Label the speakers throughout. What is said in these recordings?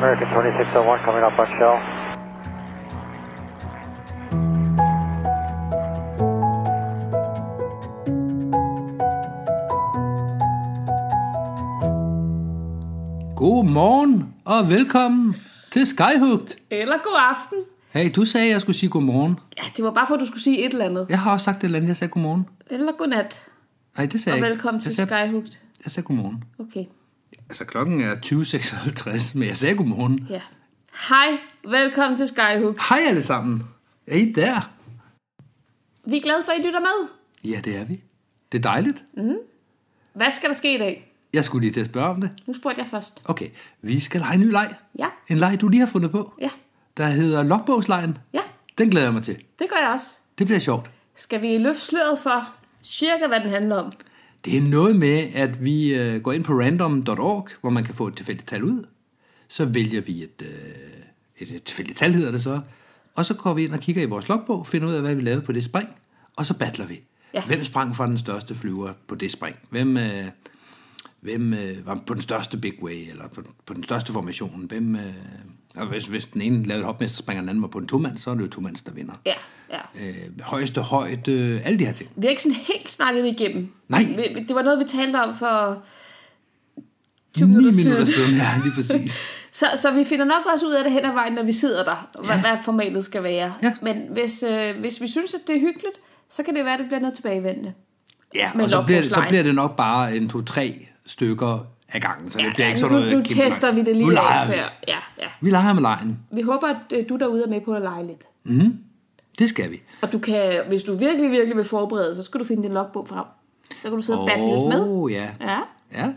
Speaker 1: American 2601 coming up on shell.
Speaker 2: God morgen og velkommen til Skyhugt.
Speaker 3: Eller god aften.
Speaker 2: Hey, du sagde, at jeg skulle sige godmorgen.
Speaker 3: Ja, det var bare for, at du skulle sige et eller andet.
Speaker 2: Jeg har også sagt et eller andet, jeg sagde godmorgen.
Speaker 3: Eller godnat.
Speaker 2: Nej, det sagde
Speaker 3: Og
Speaker 2: jeg ikke.
Speaker 3: velkommen til
Speaker 2: jeg sagde,
Speaker 3: Skyhugt.
Speaker 2: Jeg sagde godmorgen.
Speaker 3: Okay,
Speaker 2: Altså, klokken er 20.56, men jeg sagde godmorgen.
Speaker 3: ja. Hej, velkommen til Skyhugt.
Speaker 2: Hej alle sammen. Er I der?
Speaker 3: Vi er glade for, at I lytter med.
Speaker 2: Ja, det er vi. Det er dejligt.
Speaker 3: Hvad skal der ske i dag?
Speaker 2: Jeg skulle lige til at spørge om det.
Speaker 3: Nu spurgte jeg først.
Speaker 2: Okay, vi skal lege en ny leg.
Speaker 3: Ja,
Speaker 2: En leg, du lige har fundet på,
Speaker 3: ja,
Speaker 2: der hedder logbogslejen.
Speaker 3: ja,
Speaker 2: Den glæder jeg mig til.
Speaker 3: det gør jeg også.
Speaker 2: Det bliver sjovt.
Speaker 3: Skal vi løfte sløret for cirka, hvad den handler om?
Speaker 2: Det er noget med, at vi øh, går ind på random.org, hvor man kan få et tilfældigt tal ud. Så vælger vi et, øh, et, et tilfældigt tal, hedder det så. Og så går vi ind og kigger i vores logbog, finder ud af, hvad vi lavede på det spring. Og så battler vi.
Speaker 3: Ja.
Speaker 2: Hvem sprang fra den største flyver på det spring? Hvem, øh, hvem øh, var på den største big way, eller på, på den største formation? Hvem, øh, og hvis, hvis den ene lavede et hopmester, springer den anden var på en tomand, så er det jo tomands, der vinder.
Speaker 3: Ja, ja.
Speaker 2: Øh, højeste højde, øh, alle de her ting.
Speaker 3: Vi har ikke sådan helt snakket det igennem.
Speaker 2: Nej.
Speaker 3: Vi- vi- Det var noget, vi talte om for
Speaker 2: 9
Speaker 3: 20 minutter siden.
Speaker 2: minutter siden, ja, lige præcis.
Speaker 3: Så, så vi finder nok også ud af det hen ad vejen, når vi sidder der, hvad,
Speaker 2: Ja.
Speaker 3: ja. hvad formatet skal være.
Speaker 2: Ja.
Speaker 3: Men hvis, øh, hvis vi synes, at det er hyggeligt, så kan det være, at det bliver noget tilbagevendende.
Speaker 2: Ja,
Speaker 3: med
Speaker 2: og så bliver, det, så
Speaker 3: logbogslegen.
Speaker 2: bliver det nok bare en to-tre stykker af gangen, så ja, det bliver ikke sådan
Speaker 3: nu,
Speaker 2: noget...
Speaker 3: nu
Speaker 2: kæmpe
Speaker 3: tester
Speaker 2: langt.
Speaker 3: vi det lige
Speaker 2: nu leger
Speaker 3: af
Speaker 2: vi.
Speaker 3: før. Ja, ja.
Speaker 2: Vi leger med lejen.
Speaker 3: Vi håber, at øh, du derude er med på at lege lidt.
Speaker 2: Det skal vi.
Speaker 3: Og du kan, hvis du virkelig, virkelig vil forberede, så skal du finde din logbog frem. Så kan du sidde og batte lidt med.
Speaker 2: ja.
Speaker 3: Ja.
Speaker 2: ja.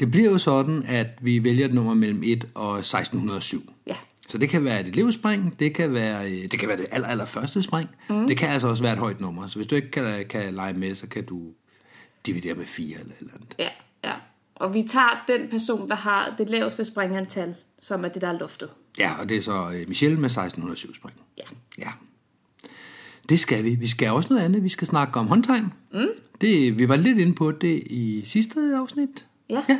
Speaker 2: Det bliver jo sådan, at vi vælger et nummer mellem 1 og 1607.
Speaker 3: Ja.
Speaker 2: Så det kan være et elevspring, det kan være, øh, det, kan være det aller, aller første spring. Mm. Det kan altså også være et højt nummer. Så hvis du ikke kan, kan lege med, så kan du dividere med 4 eller et eller andet.
Speaker 3: ja, ja. Og vi tager den person, der har det laveste springantal, som er det, der er luftet.
Speaker 2: Ja, og det er så øh, Michelle med 1607 spring.
Speaker 3: Ja.
Speaker 2: Ja. Det skal vi. Vi skal også noget andet. Vi skal snakke om håndtegn. Mm. Det, vi var lidt inde på det i sidste afsnit.
Speaker 3: Ja.
Speaker 2: ja.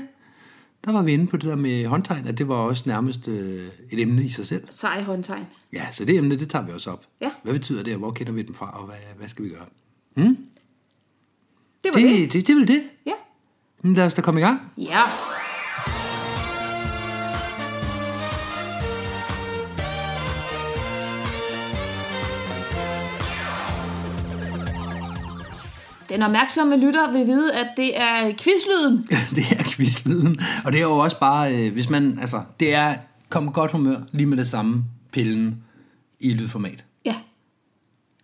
Speaker 2: Der var vi inde på det der med håndtegn, at det var også nærmest øh, et emne i sig selv.
Speaker 3: Sej håndtegn.
Speaker 2: Ja, så det emne, det tager vi også op.
Speaker 3: Ja.
Speaker 2: Hvad betyder det, og hvor kender vi dem fra, og hvad, hvad skal vi gøre?
Speaker 3: Det var
Speaker 2: Det,
Speaker 3: det.
Speaker 2: det, det, det er vel det.
Speaker 3: Ja.
Speaker 2: Men Lad os da komme i gang.
Speaker 3: Ja. Den opmærksomme lytter vil vide, at det er quizlyden.
Speaker 2: det er quizlyden. Og det er jo også bare, øh, hvis man, altså, det er, kom i godt humør lige med det samme pillen i lydformat.
Speaker 3: Ja.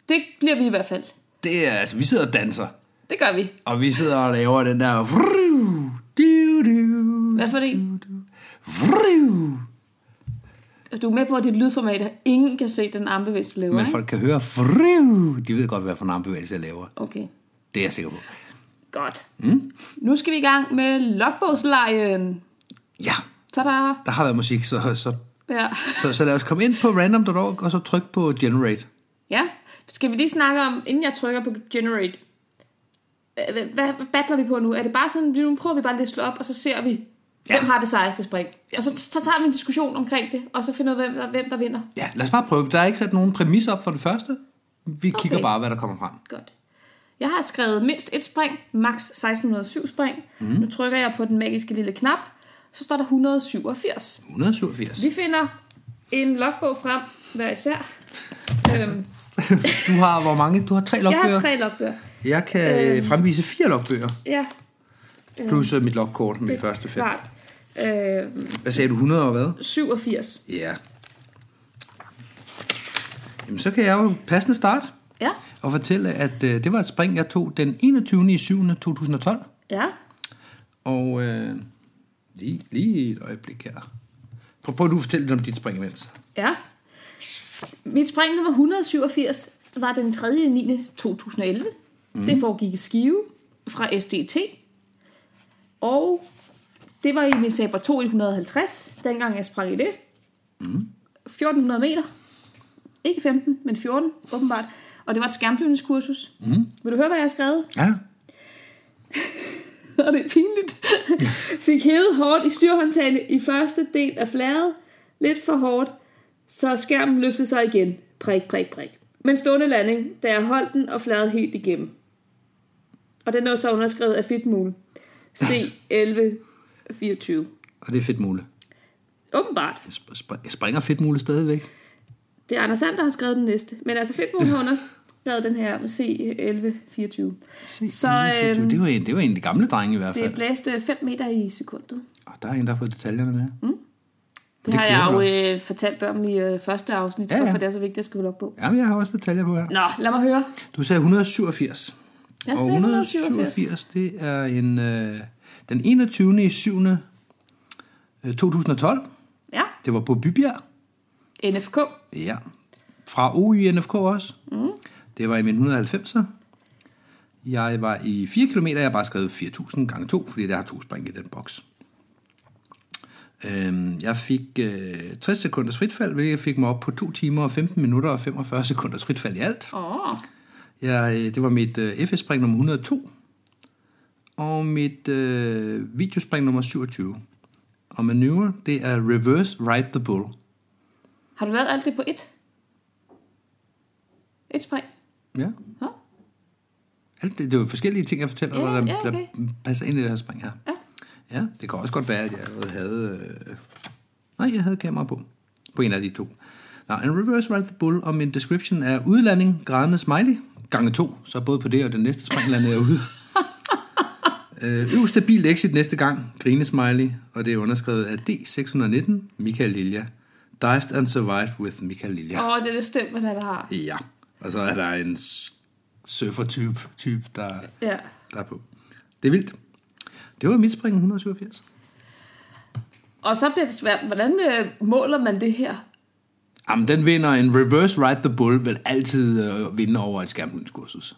Speaker 3: Det bliver vi i hvert fald.
Speaker 2: Det er, altså, vi sidder og danser.
Speaker 3: Det gør vi.
Speaker 2: Og vi sidder og laver den der... Vrru, du, du,
Speaker 3: Hvad for det?
Speaker 2: vrru.
Speaker 3: Og Du er med på, at dit lydformat er, ingen kan se den armbevægelse, du laver,
Speaker 2: Men
Speaker 3: ikke?
Speaker 2: folk kan høre... Vrru. De ved godt, hvad for en armbevægelse jeg laver.
Speaker 3: Okay.
Speaker 2: Det er jeg sikker på.
Speaker 3: Godt. Mm. Nu skal vi i gang med logbogslejen.
Speaker 2: Ja,
Speaker 3: Tada!
Speaker 2: der har været musik, så, så,
Speaker 3: Ja.
Speaker 2: så, så lad os komme ind på random.org og så tryk på generate.
Speaker 3: Ja, skal vi lige snakke om, inden jeg trykker på generate, øh, hvad, hvad battler vi på nu? Er det bare sådan, nu prøver vi bare lige at slå op, og så ser vi,
Speaker 2: Ja.
Speaker 3: ja. hvem har det sejeste spring? Ja. Og så, så tager vi en diskussion omkring det, og så finder vi, hvem der, hvem der vinder.
Speaker 2: Ja, lad os bare prøve. Der er ikke sat nogen præmis op for det første. Vi okay. kigger
Speaker 3: Okay.
Speaker 2: bare, hvad der kommer frem.
Speaker 3: Godt. Jeg har skrevet mindst et spring, max 1607 spring. Mm. Nu trykker jeg på den magiske lille knap, så står der 187.
Speaker 2: 187.
Speaker 3: Vi finder en logbog frem, hver især. Øhm,
Speaker 2: Du har hvor mange? Du har tre
Speaker 3: jeg
Speaker 2: logbøger.
Speaker 3: har tre Øhm. logbøger.
Speaker 2: Jeg kan øh... fremvise fire logbøger,
Speaker 3: Ja,
Speaker 2: plus øh, mit logkort med de
Speaker 3: Øhm. det
Speaker 2: første fem.
Speaker 3: er klart. Øhm,
Speaker 2: Hvad sagde du? 100 og hvad?
Speaker 3: 87.
Speaker 2: Ja. Jamen, så kan jeg jo passende starte
Speaker 3: Ja,
Speaker 2: og fortælle, at øh, det var et spring, jeg tog den 21. i 7. 2012.
Speaker 3: ja.
Speaker 2: Og øh, lige, lige et øjeblik her. Prøv, prøv du at fortælle lidt om dit spring imens.
Speaker 3: Ja. Mit spring nummer 187 var den 3. 9. 2011. Mm. Det foregik i Skive fra SDT. Og det var i min Sabre 2 i 150, dengang jeg sprang i det. Mm. 1400 meter. Ikke 15, men 14, åbenbart. Og det var et skærmflyvningskursus. Mm. Vil du høre, hvad jeg har skrevet?
Speaker 2: Ja.
Speaker 3: og det er pinligt, fik hævet hårdt i styrhåndtagene i første del af fladet, lidt for hårdt, så skærmen løftede sig igen. Prik, prik, prik. Men stående landing, da jeg holdt den og fladede helt igennem. Og den lå så underskrevet af Fitmule. C1124.
Speaker 2: Og det er fedt muligt.
Speaker 3: Åbenbart.
Speaker 2: Sp- sp- springer fedt muligt stadigvæk.
Speaker 3: Det er Anders Sand, der har skrevet den næste. Men altså Fitmule har underskrevet den her med C1124.
Speaker 2: Se,
Speaker 3: Så,
Speaker 2: det,
Speaker 3: øhm,
Speaker 2: det, var en, det var en af de gamle drenge i hvert fald.
Speaker 3: Det blæste 5 meter i sekundet.
Speaker 2: Og der er en, der har fået detaljerne med. Mm.
Speaker 3: Det, det har jeg jo øh, fortalt om i øh, første afsnit, ja,
Speaker 2: Ja,
Speaker 3: ja.
Speaker 2: ja.
Speaker 3: hvorfor det er så vigtigt at skrive log på.
Speaker 2: Jamen, jeg har også detaljer på her.
Speaker 3: Nå, lad mig høre.
Speaker 2: Du sagde 187.
Speaker 3: Jeg
Speaker 2: og
Speaker 3: sagde
Speaker 2: 187, det er en, øh, den 21. i øh, 7. 2012.
Speaker 3: Ja,
Speaker 2: Det var på Bybjerg.
Speaker 3: NFK.
Speaker 2: Ja. Fra OINFK også. Mm. Det var i min 190'er. Jeg var i 4 km, jeg har bare skrevet 4000 gange 2, fordi der har to spring i den boks. Øhm, jeg fik øh, 60 sekunders fritfald, hvilket fik mig op på 2 timer og 15 minutter og 45 sekunders fritfald i alt.
Speaker 3: Åh, oh,
Speaker 2: Jeg, øh, det var mit øh, FS-spring nummer 102, og mit øh, videospring nummer 27. Og manøvre, det er reverse ride the bull.
Speaker 3: har du lavet alt det på et? Et spring?
Speaker 2: Ja.
Speaker 3: Nå.
Speaker 2: Alt det, det er jo forskellige ting, jeg fortæller
Speaker 3: Ja,
Speaker 2: dig, der,
Speaker 3: ja, okay.
Speaker 2: der passer ind i det her spring her.
Speaker 3: Ja.
Speaker 2: ja, det kan også godt være, at jeg allerede havde... Øh... Nej, jeg havde kamera på. På en af de to. Nå, en reverse ride the bull, og min description er udlanding, grædende smiley, gange to. Så både på det og den næste spring landede jeg ude. Øh, Øv stabilt exit næste gang, grine smiley, og det er underskrevet af D619, Michael Lilja. Dived and survived with Michael Lilja.
Speaker 3: Åh, oh, det er det stemt, man har.
Speaker 2: Ja, og så er der en s- surfer-type, type, der,
Speaker 3: Ja.
Speaker 2: der er på. Det er vildt. Det var mit spring 187.
Speaker 3: Og så bliver det svært. Hvordan øh, måler man det her?
Speaker 2: Jamen, den vinder en reverse ride the bull, vil altid øh, vinde over et skærmlynskursus.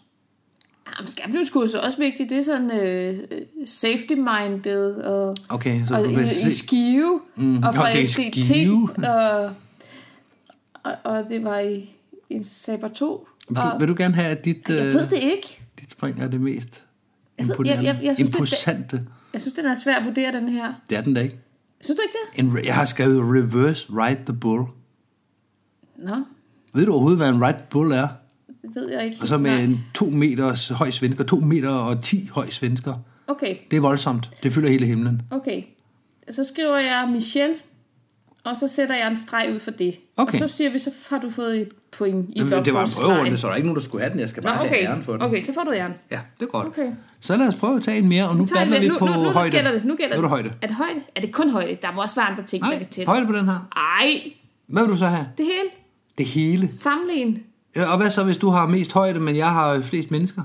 Speaker 3: Jamen, skærmlynskursus er også vigtigt. Det er sådan øh, øh, safety-minded og...
Speaker 2: Okay, så
Speaker 3: og
Speaker 2: du
Speaker 3: i,
Speaker 2: vil
Speaker 3: i
Speaker 2: se...
Speaker 3: Skive, mm. og
Speaker 2: Nå,
Speaker 3: fra
Speaker 2: det er
Speaker 3: SDT,
Speaker 2: Skive.
Speaker 3: og, og, og det var i en Saber 2.
Speaker 2: Vil
Speaker 3: Og,
Speaker 2: du, vil du gerne have, at dit,
Speaker 3: jeg ved
Speaker 2: øh,
Speaker 3: det ikke.
Speaker 2: dit spring er det mest
Speaker 3: ved-
Speaker 2: imponerende?
Speaker 3: jeg- jeg- jeg synes, det-
Speaker 2: imposante. Det,
Speaker 3: Jeg synes, den er svær at vurdere, den her.
Speaker 2: det er den da ikke.
Speaker 3: Synes du ikke det?
Speaker 2: En, re- jeg har skrevet reverse ride the bull.
Speaker 3: Nå,
Speaker 2: Ved du overhovedet, hvad en ride the bull er?
Speaker 3: det ved jeg ikke.
Speaker 2: Og så med
Speaker 3: Nej.
Speaker 2: en 2 meters høj svensker, 2 meter og 10 høj svensker.
Speaker 3: Okay,
Speaker 2: Det er voldsomt. Det fylder hele himlen.
Speaker 3: okay. Så skriver jeg Michelle, og så sætter jeg en streg ud for det.
Speaker 2: Okay.
Speaker 3: Og så siger vi, så har du fået et point i
Speaker 2: Jamen, det var en
Speaker 3: logbogsstregen.
Speaker 2: prøverunde, så der er ikke nogen, der skulle have den. Jeg skal
Speaker 3: Nå,
Speaker 2: bare okay. have æren for
Speaker 3: okay.
Speaker 2: den.
Speaker 3: okay, så får du æren.
Speaker 2: Ja, det er godt.
Speaker 3: Okay.
Speaker 2: Så lad os prøve at tage en mere, og nu
Speaker 3: Tager en
Speaker 2: battler vi
Speaker 3: mere.
Speaker 2: på
Speaker 3: nu, nu, nu
Speaker 2: højde.
Speaker 3: Gælder det. Nu gælder
Speaker 2: nu er det højde.
Speaker 3: Er det højde? Er det kun højde? Der må også være andre ting, der kan
Speaker 2: Nej,
Speaker 3: tælle.
Speaker 2: højde på den her.
Speaker 3: Ej,
Speaker 2: Hvad vil du så have?
Speaker 3: det hele.
Speaker 2: Det hele.
Speaker 3: Sammenlign.
Speaker 2: Ja, og hvad så, hvis du har mest højde, men jeg har flest mennesker?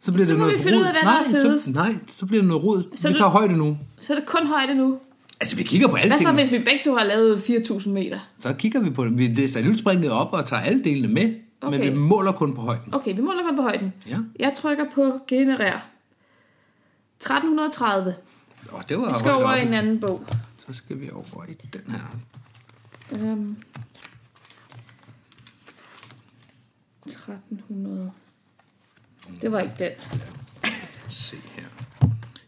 Speaker 2: Så bliver
Speaker 3: Så
Speaker 2: det
Speaker 3: må
Speaker 2: noget
Speaker 3: vi finde ud
Speaker 2: rod.
Speaker 3: af, hvad der
Speaker 2: nej,
Speaker 3: er fedest.
Speaker 2: så, nej, så bliver det noget rod.
Speaker 3: Så
Speaker 2: vi
Speaker 3: du-
Speaker 2: tager højde nu.
Speaker 3: Så er det kun højde nu.
Speaker 2: Altså, vi kigger på alle
Speaker 3: Hvad så,
Speaker 2: tingene.
Speaker 3: hvis vi begge to har lavet 4.000 meter?
Speaker 2: Så kigger vi på dem. Vi det er salutspringet op og tager alle delene med,
Speaker 3: Okay.
Speaker 2: men vi måler kun på højden.
Speaker 3: Okay, vi måler kun på højden.
Speaker 2: Ja,
Speaker 3: Jeg trykker på generer. 1330.
Speaker 2: og Ah, det var
Speaker 3: Vi skal
Speaker 2: højt
Speaker 3: over i
Speaker 2: oppe.
Speaker 3: en anden bog.
Speaker 2: Så skal vi over i den her.
Speaker 3: Øhm. 1300. Det var ikke den.
Speaker 2: se her.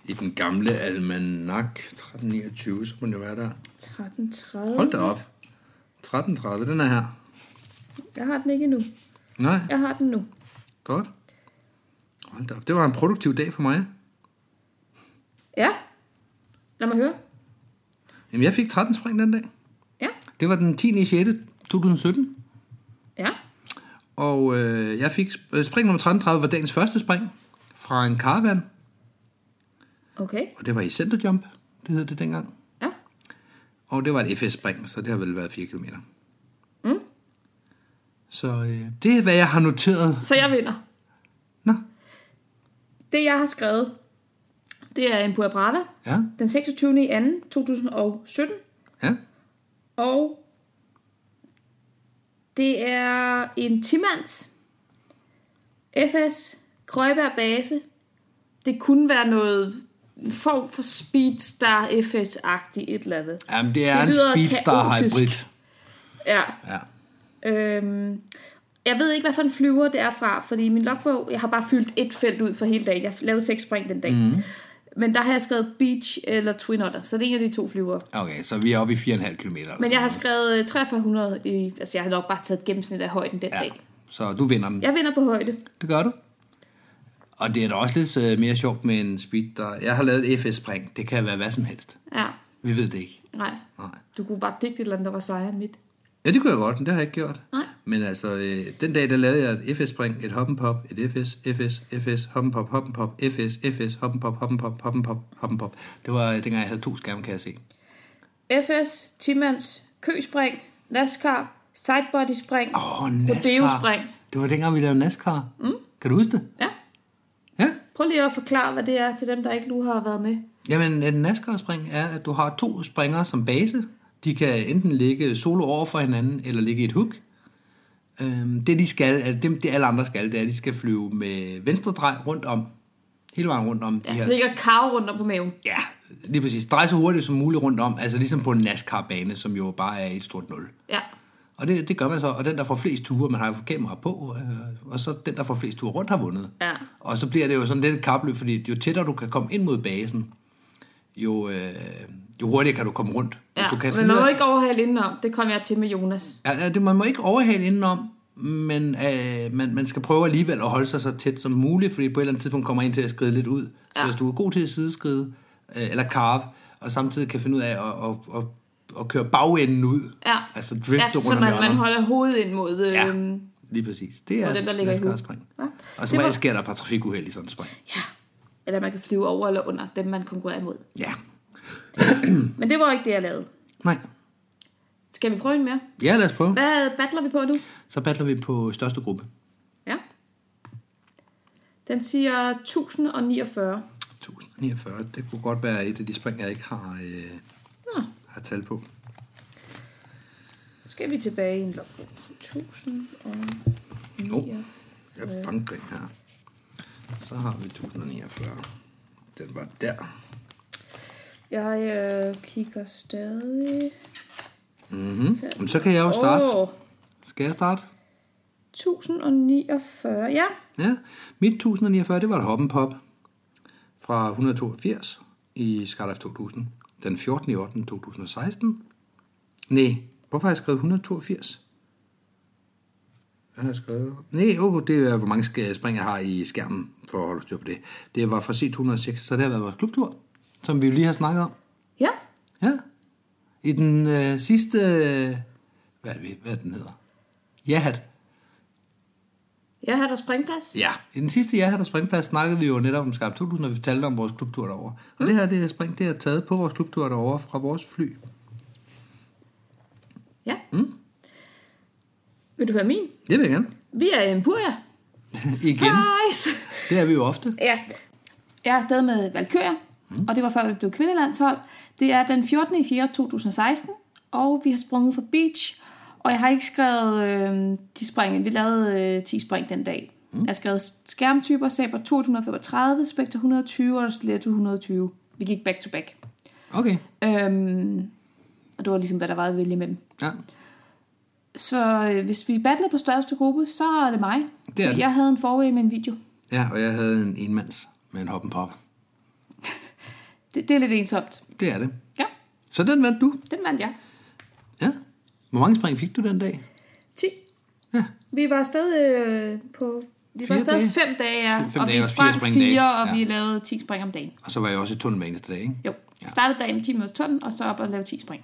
Speaker 2: I den gamle almanak 1329, så må det være der.
Speaker 3: 1330.
Speaker 2: Hold da op. 1330, den er her.
Speaker 3: Jeg har den ikke endnu.
Speaker 2: Nej,
Speaker 3: Jeg har den nu.
Speaker 2: godt. Hold da op. Det var en produktiv dag for mig.
Speaker 3: Ja. Lad mig høre.
Speaker 2: Jamen, jeg fik 13 spring den dag.
Speaker 3: Ja.
Speaker 2: Det var den 10. 6. 2017.
Speaker 3: Ja.
Speaker 2: Og øh, jeg fik sp- øh, spring nummer 1330 var dagens første spring fra en caravan.
Speaker 3: Okay.
Speaker 2: Og det var i Centerjump, det hed det dengang.
Speaker 3: Ja.
Speaker 2: Og det var et FS-spring, så det har vel været 4 km.
Speaker 3: Mm.
Speaker 2: Så øh, det er, hvad jeg har noteret.
Speaker 3: Så jeg vinder.
Speaker 2: Nå,
Speaker 3: Det, jeg har skrevet, det er en Pura Brava,
Speaker 2: ja,
Speaker 3: den 26. i 2. 2017,
Speaker 2: ja.
Speaker 3: og det er en Timands FS Krøjberg Base. Det kunne være noget en form for Speedstar FS-agtigt et eller andet.
Speaker 2: Jamen, det er
Speaker 3: Det
Speaker 2: det en
Speaker 3: lyder
Speaker 2: speedstar
Speaker 3: kaotisk.
Speaker 2: hybrid.
Speaker 3: Ja,
Speaker 2: Ja.
Speaker 3: øhm, jeg ved ikke, hvad for en flyver det er fra, fordi min logbog, jeg har bare fyldt et felt ud for hele dagen. Jeg lavede seks spring den dag. Mm. Men der har jeg skrevet Beach eller Twin Otter, så det er en af de to flyver.
Speaker 2: Okay, så vi er oppe i 4,5 km.
Speaker 3: Men jeg har skrevet øh, 4300, i, altså jeg har nok bare taget et gennemsnit af højden den ja. dag.
Speaker 2: Ja, så du vinder den.
Speaker 3: Jeg vinder på højde.
Speaker 2: Det gør du. Og det er da også lidt øh, mere sjovt med en speed, der... Jeg har lavet et FS-spring. Det kan være hvad som helst.
Speaker 3: Ja,
Speaker 2: Vi ved det ikke.
Speaker 3: nej.
Speaker 2: Nej.
Speaker 3: Du kunne bare digte et eller andet, der var sejere end mit.
Speaker 2: Ja, det kunne jeg godt, men det har jeg ikke gjort.
Speaker 3: Nej.
Speaker 2: Men altså, øh, den dag, der lavede jeg et FS-spring, et hoppenpop, et FS, FS, FS, hoppenpop, hoppenpop, FS, FS, hoppenpop, hoppenpop, hoppenpop, hoppenpop. Det var øh, dengang, jeg havde to skærme, kan jeg se.
Speaker 3: FS, Timmans, køspring, NASCAR, sidebody spring,
Speaker 2: Åh, oh, NASCAR.
Speaker 3: Rodeo-spring.
Speaker 2: Det var dengang, vi lavede NASCAR. Mm. Kan du huske det?
Speaker 3: Ja,
Speaker 2: Ja.
Speaker 3: prøv lige at forklare, hvad det er til dem, der ikke nu har været med.
Speaker 2: Jamen, øh, en NASCAR-spring er, at du har to springere som base. De kan enten ligge solo over for hinanden, eller ligge i et hook. Øhm, det, de skal, altså, det, det alle andre skal, det er, at de skal flyve med venstre drej rundt om. Hele vejen rundt om. de
Speaker 3: Ja,
Speaker 2: her-
Speaker 3: så Altså, ligger karve rundt om på maven.
Speaker 2: Ja, lige præcis. Drej så hurtigt som muligt rundt om, altså ligesom på en NASCAR-bane, som jo bare er et stort nul.
Speaker 3: Ja,
Speaker 2: Og det, det gør man så, og den, der får flest ture, man har jo kamera på, øh, og så den, der får flest ture rundt, har vundet.
Speaker 3: Ja.
Speaker 2: Og så bliver det jo sådan lidt et kapløb, fordi jo tættere du kan komme ind mod basen, jo, øh, jo hurtigere kan du komme rundt. Hvis
Speaker 3: ja.
Speaker 2: du kan
Speaker 3: men
Speaker 2: finde
Speaker 3: man
Speaker 2: ud
Speaker 3: må
Speaker 2: af-
Speaker 3: ikke overhale indenom. Det kom jeg til med Jonas.
Speaker 2: Ja, ja, det, man må ikke overhale indenom, men øh, man, man skal prøve alligevel at holde sig så tæt som muligt, fordi på et eller andet tidspunkt kommer en til at skride lidt ud. Så
Speaker 3: Ja.
Speaker 2: hvis du er god til at sideskride, øh, eller carve, og samtidig kan finde ud af at, at, at, at køre bagenden ud,
Speaker 3: Ja,
Speaker 2: altså drifte
Speaker 3: ja
Speaker 2: rundt
Speaker 3: så
Speaker 2: om
Speaker 3: man,
Speaker 2: hjørner.
Speaker 3: man holder hovedet ind mod... Øh,
Speaker 2: Ja, lige præcis. Det er
Speaker 3: og dem, der ligger i hovedet.
Speaker 2: spring.
Speaker 3: Ja.
Speaker 2: Og
Speaker 3: Det
Speaker 2: som
Speaker 3: var-
Speaker 2: regel sker der et par trafikuheld i sådan en spring.
Speaker 3: ja. Eller man kan flyve over eller under dem, man konkurrerer imod.
Speaker 2: Ja.
Speaker 3: Men det var ikke det, jeg lavede.
Speaker 2: Nej.
Speaker 3: Skal vi prøve en mere?
Speaker 2: Ja, lad os prøve.
Speaker 3: Hvad battler vi på nu?
Speaker 2: Så battler vi på største gruppe.
Speaker 3: Ja. Den siger 1049.
Speaker 2: 1049. Det kunne godt være et af de spring, jeg ikke har, øh,
Speaker 3: Nå,
Speaker 2: har tal på.
Speaker 3: så skal vi tilbage i en logbog. 1000 og...
Speaker 2: Jo, jeg banker den her. Så har vi 1049. Den var der.
Speaker 3: Jeg øh, kigger stadig...
Speaker 2: Mm-hmm. Jamen, så kan jeg jo starte.
Speaker 3: Åh,
Speaker 2: Skal jeg starte?
Speaker 3: 1049. Ja,
Speaker 2: Ja. Mit 1049, det var et hoppenpop fra 182 i Skydive 2000. Den 14. i 8. 2016. Nej, hvorfor har jeg skrevet 182? Jeg har skrevet... Nej, oh, det er, hvor mange sk- spring jeg har i skærmen, for at holde styr på det. Det var fra C206, så det har været vores klubtur, som vi jo lige har snakket om.
Speaker 3: ja.
Speaker 2: Ja. I den øh, sidste... Øh, hvad er det, hvad den hedder? Jahat.
Speaker 3: Jeg har der springplads.
Speaker 2: Ja. I den sidste Jahat og Springplads snakkede vi jo netop om Skarp 2000, og vi talte om vores klubtur derovre. Og
Speaker 3: Mm.
Speaker 2: det her, det her spring, det er taget på vores klubtur derovre fra vores fly.
Speaker 3: Ja. Mm. Vil du høre min?
Speaker 2: Det vil jeg gerne.
Speaker 3: Vi er i Empuria.
Speaker 2: Igen.
Speaker 3: Nice.
Speaker 2: Det er vi jo ofte.
Speaker 3: Ja. Jeg er afsted med Valkyria, mm. og det var før vi blev kvindelandshold. Det er den 14. i 4. 2016, og vi har sprunget for beach, og jeg har ikke skrevet øh, de spring. Vi lavede øh, 10 spring den dag. Mm. Jeg har skrevet skærmtyper, Saber 235, Spectre 120 og Sletto 120. Vi gik back to back.
Speaker 2: Okay.
Speaker 3: Øhm, og det var ligesom, hvad der var at vælge imellem.
Speaker 2: Ja.
Speaker 3: Så øh, hvis vi battler på største gruppe, så er det mig.
Speaker 2: Det er det.
Speaker 3: Jeg havde en forrige med en video.
Speaker 2: ja, og jeg havde en enmands med en hoppen pop.
Speaker 3: Det, det er lidt ensomt.
Speaker 2: Det er det.
Speaker 3: Ja,
Speaker 2: Så den vandt du.
Speaker 3: den vandt jeg.
Speaker 2: Ja. Hvor mange spring fik du den dag?
Speaker 3: 10.
Speaker 2: Ja.
Speaker 3: Vi var afsted øh, på... Vi
Speaker 2: Fire
Speaker 3: var afsted
Speaker 2: dage?
Speaker 3: fem dage, ja.
Speaker 2: Fem- fem
Speaker 3: og
Speaker 2: dage
Speaker 3: vi
Speaker 2: og fire
Speaker 3: sprang
Speaker 2: spring
Speaker 3: fire,
Speaker 2: dage.
Speaker 3: og
Speaker 2: Ja.
Speaker 3: vi lavede 10 spring om dagen.
Speaker 2: Og så var jeg også i tunnel hver eneste dag, ikke?
Speaker 3: Jo. Ja. Startede dagen med 10 minutters tunnel, og så op og lave 10 spring.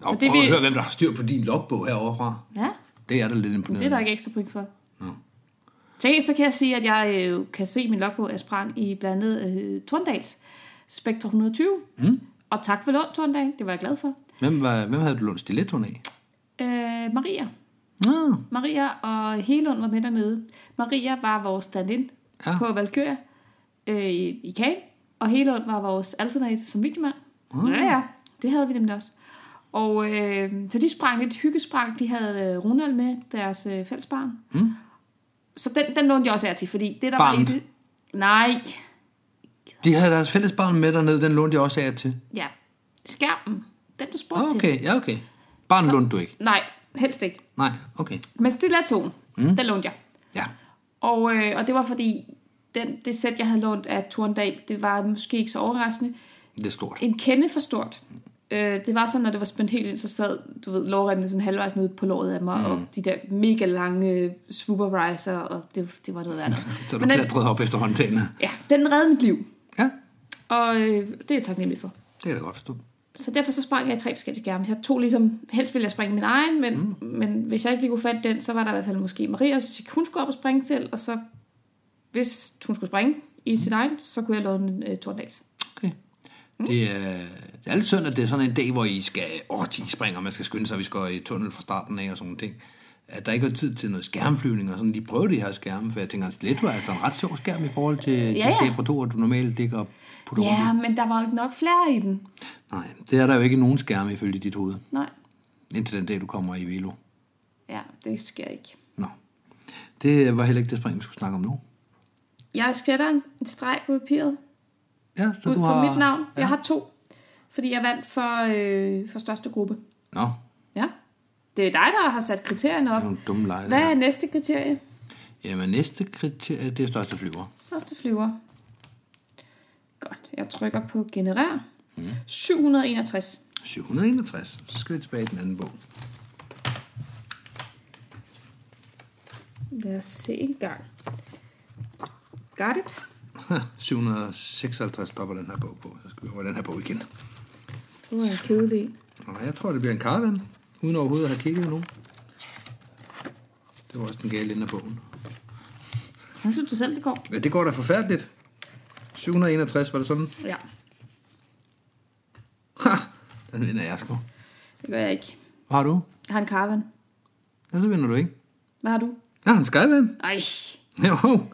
Speaker 2: Og
Speaker 3: det
Speaker 2: prøv at
Speaker 3: vi-
Speaker 2: høre, hvem der har styr på din logbog herovre fra.
Speaker 3: Ja,
Speaker 2: Det er da lidt
Speaker 3: men
Speaker 2: imponerende.
Speaker 3: det er der ikke ekstra point for.
Speaker 2: Nå.
Speaker 3: Til gengæld så kan jeg sige, at jeg øh, kan se min logbog, at jeg sprang i blandt andet øh, Torndals Spectre 120. Mm. Og tak for lån, Torndal. Det var jeg glad for.
Speaker 2: Hvem, var, hvem havde du lånt stilettoen af?
Speaker 3: Øh, Maria.
Speaker 2: Nå,
Speaker 3: Maria og Helund var med dernede. Maria var vores stand-in
Speaker 2: Ja.
Speaker 3: ja. på Valkyria øh, i i Caen, og Helund var vores alternate som videomand. Mm. Ja, ja, det havde vi nemlig også. Og øh, så de sprang lidt hyggesprang. De havde øh, Ronald med, deres øh, fællesbarn. Mm. Så den, den lånte jeg også af til, fordi det der var i
Speaker 2: Barnet.
Speaker 3: det... Nej,
Speaker 2: de havde deres fælles barn med dernede, den lånte jeg også af jer til.
Speaker 3: ja. Skærmen, den du spurgte okay. til.
Speaker 2: Ah, Okay, ja okay. Barn så... lånte du ikke?
Speaker 3: Nej, helst ikke.
Speaker 2: Nej, okay.
Speaker 3: Men stille af tonen, mm. den lånte jeg.
Speaker 2: Ja,
Speaker 3: Og, øh, og det var fordi, den, det sæt, jeg havde lånt af Torndal, det var måske ikke så overraskende,
Speaker 2: Det er stort.
Speaker 3: en kende for stort. Øh, det var sådan, når det var spændt helt ind, så sad, du ved, lårrenden sådan halvvejs nede på låret af mig, mm. og de der mega lange øh, swooper riser, og det, det var noget andet.
Speaker 2: Så du
Speaker 3: Men den-
Speaker 2: klatrede op efter håndtagene.
Speaker 3: Ja, den reddede mit liv,
Speaker 2: Ja,
Speaker 3: og øh, det er jeg taknemmelig for.
Speaker 2: det kan jeg da godt forstå.
Speaker 3: Så derfor så sprang jeg i tre forskellige skærme. Jeg tog ligesom, helst ville jeg springe min egen, men, mm. men hvis jeg ikke lige kunne fatte den, så var der i hvert fald måske Marias, hvis ikke hun skulle op og springe til, og så hvis hun skulle springe i sin egen, så kunne jeg låne øh, Torndags.
Speaker 2: Okay. Mm. Det er, det er altid synd, at det er sådan en dag, hvor I skal, åh, de springer, man skal skynde sig, vi skal i tunnel fra starten af og sådan nogle ting. At der ikke er tid til noget skærmflyvning og sådan. De prøver de her skærme, for jeg tænker, at Stiletto er altså en ret sjov skærm i forhold til ja,
Speaker 3: ja.
Speaker 2: de Zebra 2, du normalt ligger og putter rundt
Speaker 3: Ja, men der var jo ikke nok flere i den.
Speaker 2: i. Nej, det er der jo ikke nogen skærme ifølge dit hoved,
Speaker 3: Nej,
Speaker 2: indtil den dag, du kommer i Velo.
Speaker 3: ja, det sker ikke.
Speaker 2: Nå. Det var heller ikke det spring, vi skulle snakke om nu.
Speaker 3: Jeg skætter en, en streg på papiret
Speaker 2: Ja, så
Speaker 3: ud
Speaker 2: du
Speaker 3: fra
Speaker 2: har...
Speaker 3: mit navn. Ja. Jeg har to, fordi jeg vandt for, øh, for største gruppe.
Speaker 2: Nå,
Speaker 3: Ja, det er dig, der har sat kriterierne op.
Speaker 2: det er nogle dumme lege. det
Speaker 3: Hvad
Speaker 2: her.
Speaker 3: er næste kriterie?
Speaker 2: Jamen, næste kriterie, det er største flyver.
Speaker 3: Største flyver. Godt, jeg trykker på generer. Mm. 761.
Speaker 2: 761. Så skal vi tilbage i den anden bog.
Speaker 3: Lad os se en gang. Got it.
Speaker 2: 756 stopper den her bog på. Så skal vi over i den her bog igen.
Speaker 3: Nu er jeg kedelig. en.
Speaker 2: Og jeg tror, det bliver en caravan, uden overhovedet at have kigget endnu. Det var også den gale ende af bogen.
Speaker 3: Hvordan synes du selv, det går?
Speaker 2: Ja, det går da forfærdeligt. 761, var det sådan?
Speaker 3: Ja,
Speaker 2: Ha! Den vinder jeg sgu.
Speaker 3: det gør jeg ikke.
Speaker 2: Hvad har du?
Speaker 3: Jeg har en caravan.
Speaker 2: Ja, så vinder du ikke.
Speaker 3: Hvad har du?
Speaker 2: Jeg har en skyvan.
Speaker 3: Ej,
Speaker 2: Jo.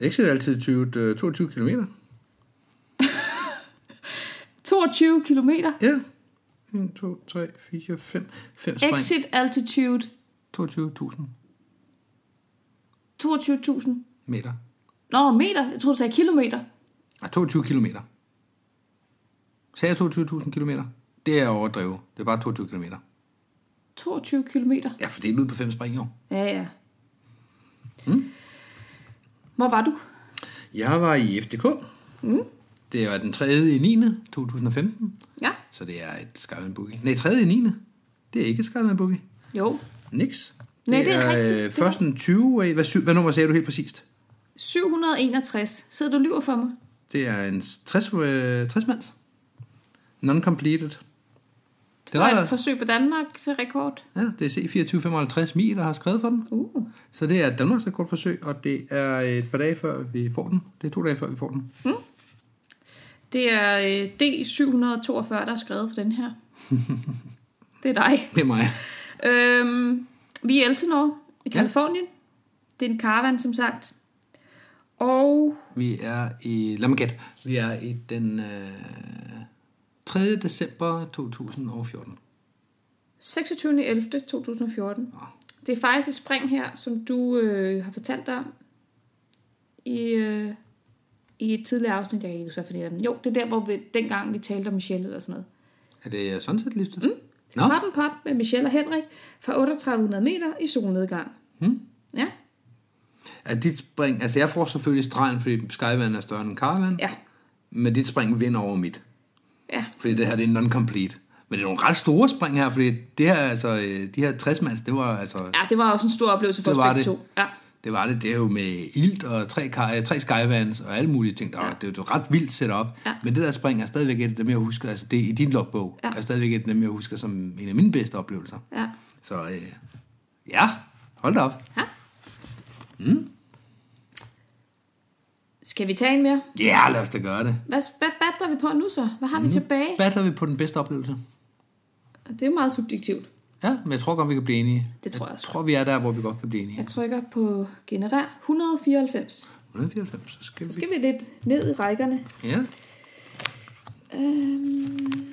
Speaker 2: Exit er altid 20, øh, 22 km.
Speaker 3: 22 kilometer.
Speaker 2: Ja. 1, 2, 3, 4, 5, 5 spring.
Speaker 3: Exit altitude
Speaker 2: 22.000
Speaker 3: 22.000.
Speaker 2: meter.
Speaker 3: Nå, meter. Jeg troede, du sagde kilometer.
Speaker 2: Ah, 22 kilometer. Sagde jeg 22.000 kilometer? Det er overdrevet. Det er bare 22 kilometer.
Speaker 3: 22 kilometer.
Speaker 2: Ja, for det er lyd på fem spring, jo.
Speaker 3: Ja, ja. Mm. Hvor var du?
Speaker 2: Jeg var i FDK. Mm. Det var den 3. i 9. 2015.
Speaker 3: Ja.
Speaker 2: Så det er et Skyman Boogie. Nej, 3. i 9. Det er ikke et Skyman Boogie.
Speaker 3: Jo.
Speaker 2: Nix.
Speaker 3: Nej, det er
Speaker 2: øh,
Speaker 3: rigtigt. Det-
Speaker 2: først en 20 af... Hvad, sy- hvad nummer sagde du helt præcist?
Speaker 3: 761. Sidder du og lyver for mig?
Speaker 2: Det er en 60, øh, 60 mands. Non-completed. Den er
Speaker 3: og
Speaker 2: der,
Speaker 3: et forsøg på Danmark til rekord.
Speaker 2: ja, det er C2455 Mi, der har skrevet for den.
Speaker 3: Uh.
Speaker 2: Så det er et Danmarks rekordforsøg, og det er et par dage før vi får den. Det er to dage før vi får den.
Speaker 3: Det er øh, D742, der er skrevet for den her. det er dig.
Speaker 2: Det er mig.
Speaker 3: Øhm, vi er i Elsinore i Kalifornien. Ja. Det er en caravan, som sagt. Og
Speaker 2: Vi er i, lad mig gætte, vi er i den øh, 3. december 2014.
Speaker 3: 26.11.2014.
Speaker 2: Nå.
Speaker 3: Det er faktisk et spring her, som du øh, har fortalt dig om i, øh, i et tidligere afsnit. Jeg kan ikke huske, hvad for det er. Jo, det er der, hvor vi, dengang vi talte om Michelle og sådan noget.
Speaker 2: Er det sådan set listet? Mm. Nå,
Speaker 3: Nå. Pop and Pop med Michelle og Henrik fra 3800 meter i solnedgang.
Speaker 2: Hmm.
Speaker 3: Ja,
Speaker 2: er dit spring, altså jeg får selvfølgelig stregen, fordi Skyvan er større end Caravan,
Speaker 3: ja,
Speaker 2: men dit spring vinder over mit,
Speaker 3: ja.
Speaker 2: fordi det her det er non-complete. Men det er nogle ret store spring her, fordi det her, altså, øh, de her 60 mands, det var altså...
Speaker 3: Ja, det var også en stor oplevelse for
Speaker 2: Det
Speaker 3: os
Speaker 2: var
Speaker 3: begge
Speaker 2: det.
Speaker 3: to. Ja.
Speaker 2: Det var det. Det er jo med ilt og tre, kar- tre skyvans og alle mulige ting. Der var,
Speaker 3: Ja.
Speaker 2: Det er jo et ret vildt setup.
Speaker 3: Ja.
Speaker 2: Men det der spring er stadigvæk et af dem, jeg husker. Altså det i din logbog
Speaker 3: Ja.
Speaker 2: er stadigvæk et af dem, jeg husker som en af mine bedste oplevelser.
Speaker 3: Ja.
Speaker 2: Så øh, ja, hold da op.
Speaker 3: Skal vi tage en mere?
Speaker 2: Ja, yeah, lad os da gøre det.
Speaker 3: Hvad, hvad battler vi på nu så? Hvad har vi
Speaker 2: Hmm.
Speaker 3: tilbage?
Speaker 2: Batter vi på den bedste oplevelse?
Speaker 3: Det er meget subjektivt.
Speaker 2: Ja, men jeg tror godt, vi kan blive enige.
Speaker 3: Det tror jeg også.
Speaker 2: tror, vi er der, hvor vi godt kan blive enige.
Speaker 3: Jeg trykker på generer 194.
Speaker 2: 194, så skal
Speaker 3: Så
Speaker 2: vi...
Speaker 3: skal vi lidt ned i rækkerne.
Speaker 2: Ja.
Speaker 3: Øhm,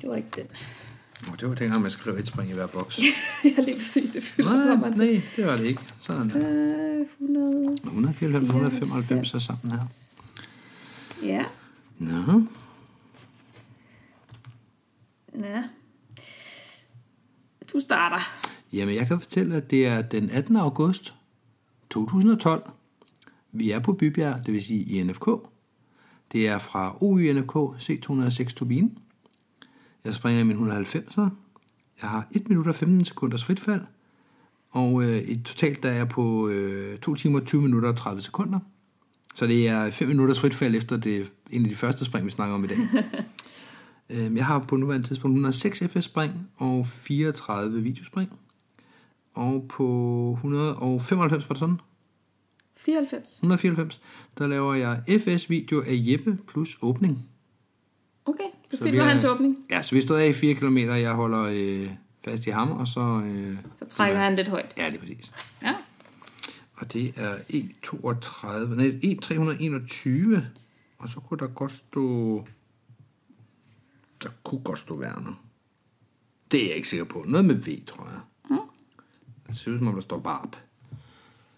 Speaker 3: det var ikke den.
Speaker 2: Nå, det var dengang, man skrev et spring i hver boks.
Speaker 3: Jeg har lige præcis det fylder
Speaker 2: nej,
Speaker 3: for mig til.
Speaker 2: nej, det var det ikke. Sådan der.
Speaker 3: Øh, 100.
Speaker 2: 194, 195 er sammen her.
Speaker 3: Ja.
Speaker 2: Nå,
Speaker 3: Ja. Du starter.
Speaker 2: Jamen, jeg kan fortælle, at det er den 18. august 2012. Vi er på Bybjerg, det vil sige i NFK. Det er fra OYNFK C206 turbine. Jeg springer i min 190'er. Jeg har 1 minut og 15 sekunders fritfald. Og øh, i totalt der er jeg på øh, 2 timer, 20 minutter og 30 sekunder. Så det er 5 minutters fritfald efter det, en af de første spring, vi snakker om i dag. Øhm, Jeg har på nuværende tidspunkt 106 FS-spring og 34 videospring. Og på 195, var det sådan?
Speaker 3: 94.
Speaker 2: 194, der laver jeg FS-video af Jeppe plus åbning.
Speaker 3: Okay, det
Speaker 2: Så
Speaker 3: fik
Speaker 2: vi
Speaker 3: var
Speaker 2: er-
Speaker 3: hans åbning.
Speaker 2: Ja, så vi stod af i 4 km, jeg holder øh, fast i ham, og så... Øh,
Speaker 3: Så trækker han lidt højt.
Speaker 2: Ja, lige præcis.
Speaker 3: Ja.
Speaker 2: Og det er E32, nej, E321, og så kunne der godt stå, der kunne godt stå Werner. Det er jeg ikke sikker på. Noget med V, tror jeg. Mm. Det ser ud som om, der står VARP.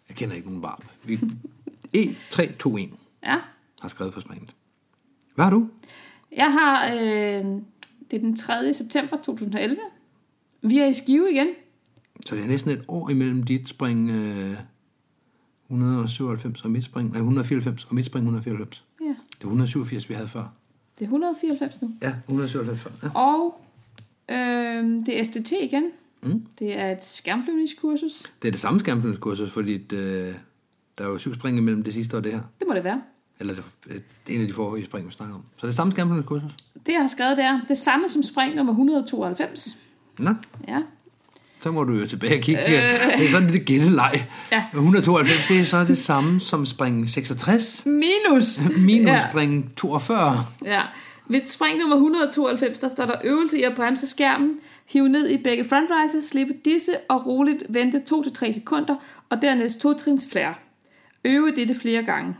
Speaker 2: Jeg kender ikke nogen VARP. Vi... E E321
Speaker 3: ja.
Speaker 2: har skrevet for springet. Hvad har du?
Speaker 3: Jeg har, øh, det er den 3. september 2011. Vi er i Skive igen.
Speaker 2: Så det er næsten et år imellem dit spring øh, 197 og mit spring, nej, 194 og mit spring 194.
Speaker 3: Ja.
Speaker 2: Det var 187, vi havde før.
Speaker 3: Det er 194 nu.
Speaker 2: Ja, 197 før. Ja.
Speaker 3: Og øh, det er SDT igen.
Speaker 2: Mm.
Speaker 3: Det er et skærmflyvningskursus.
Speaker 2: Det er det samme skærmflyvningskursus, fordi øh, der er jo syv spring imellem det sidste og det her.
Speaker 3: Det må det være.
Speaker 2: Eller det, øh, en af de forrige spring, vi snakker om. Så det er samme skærmflyvningskursus.
Speaker 3: Det, jeg har skrevet, det er det samme som spring nummer 192.
Speaker 2: Nå,
Speaker 3: Ja.
Speaker 2: så må du jo tilbage og kigge. Øh. Det er sådan lidt gætteleg.
Speaker 3: Ja.
Speaker 2: 192, det er så det samme som spring 66
Speaker 3: Minus.
Speaker 2: minus
Speaker 3: Ja.
Speaker 2: ja. spring 42.
Speaker 3: Ja. Ved spring nummer 192, der står der øvelse i at bremse skærmen, hive ned i begge frontriser, slippe disse og roligt vente 2-3 sekunder, og dernæst to trins flere. Øve dette flere gange.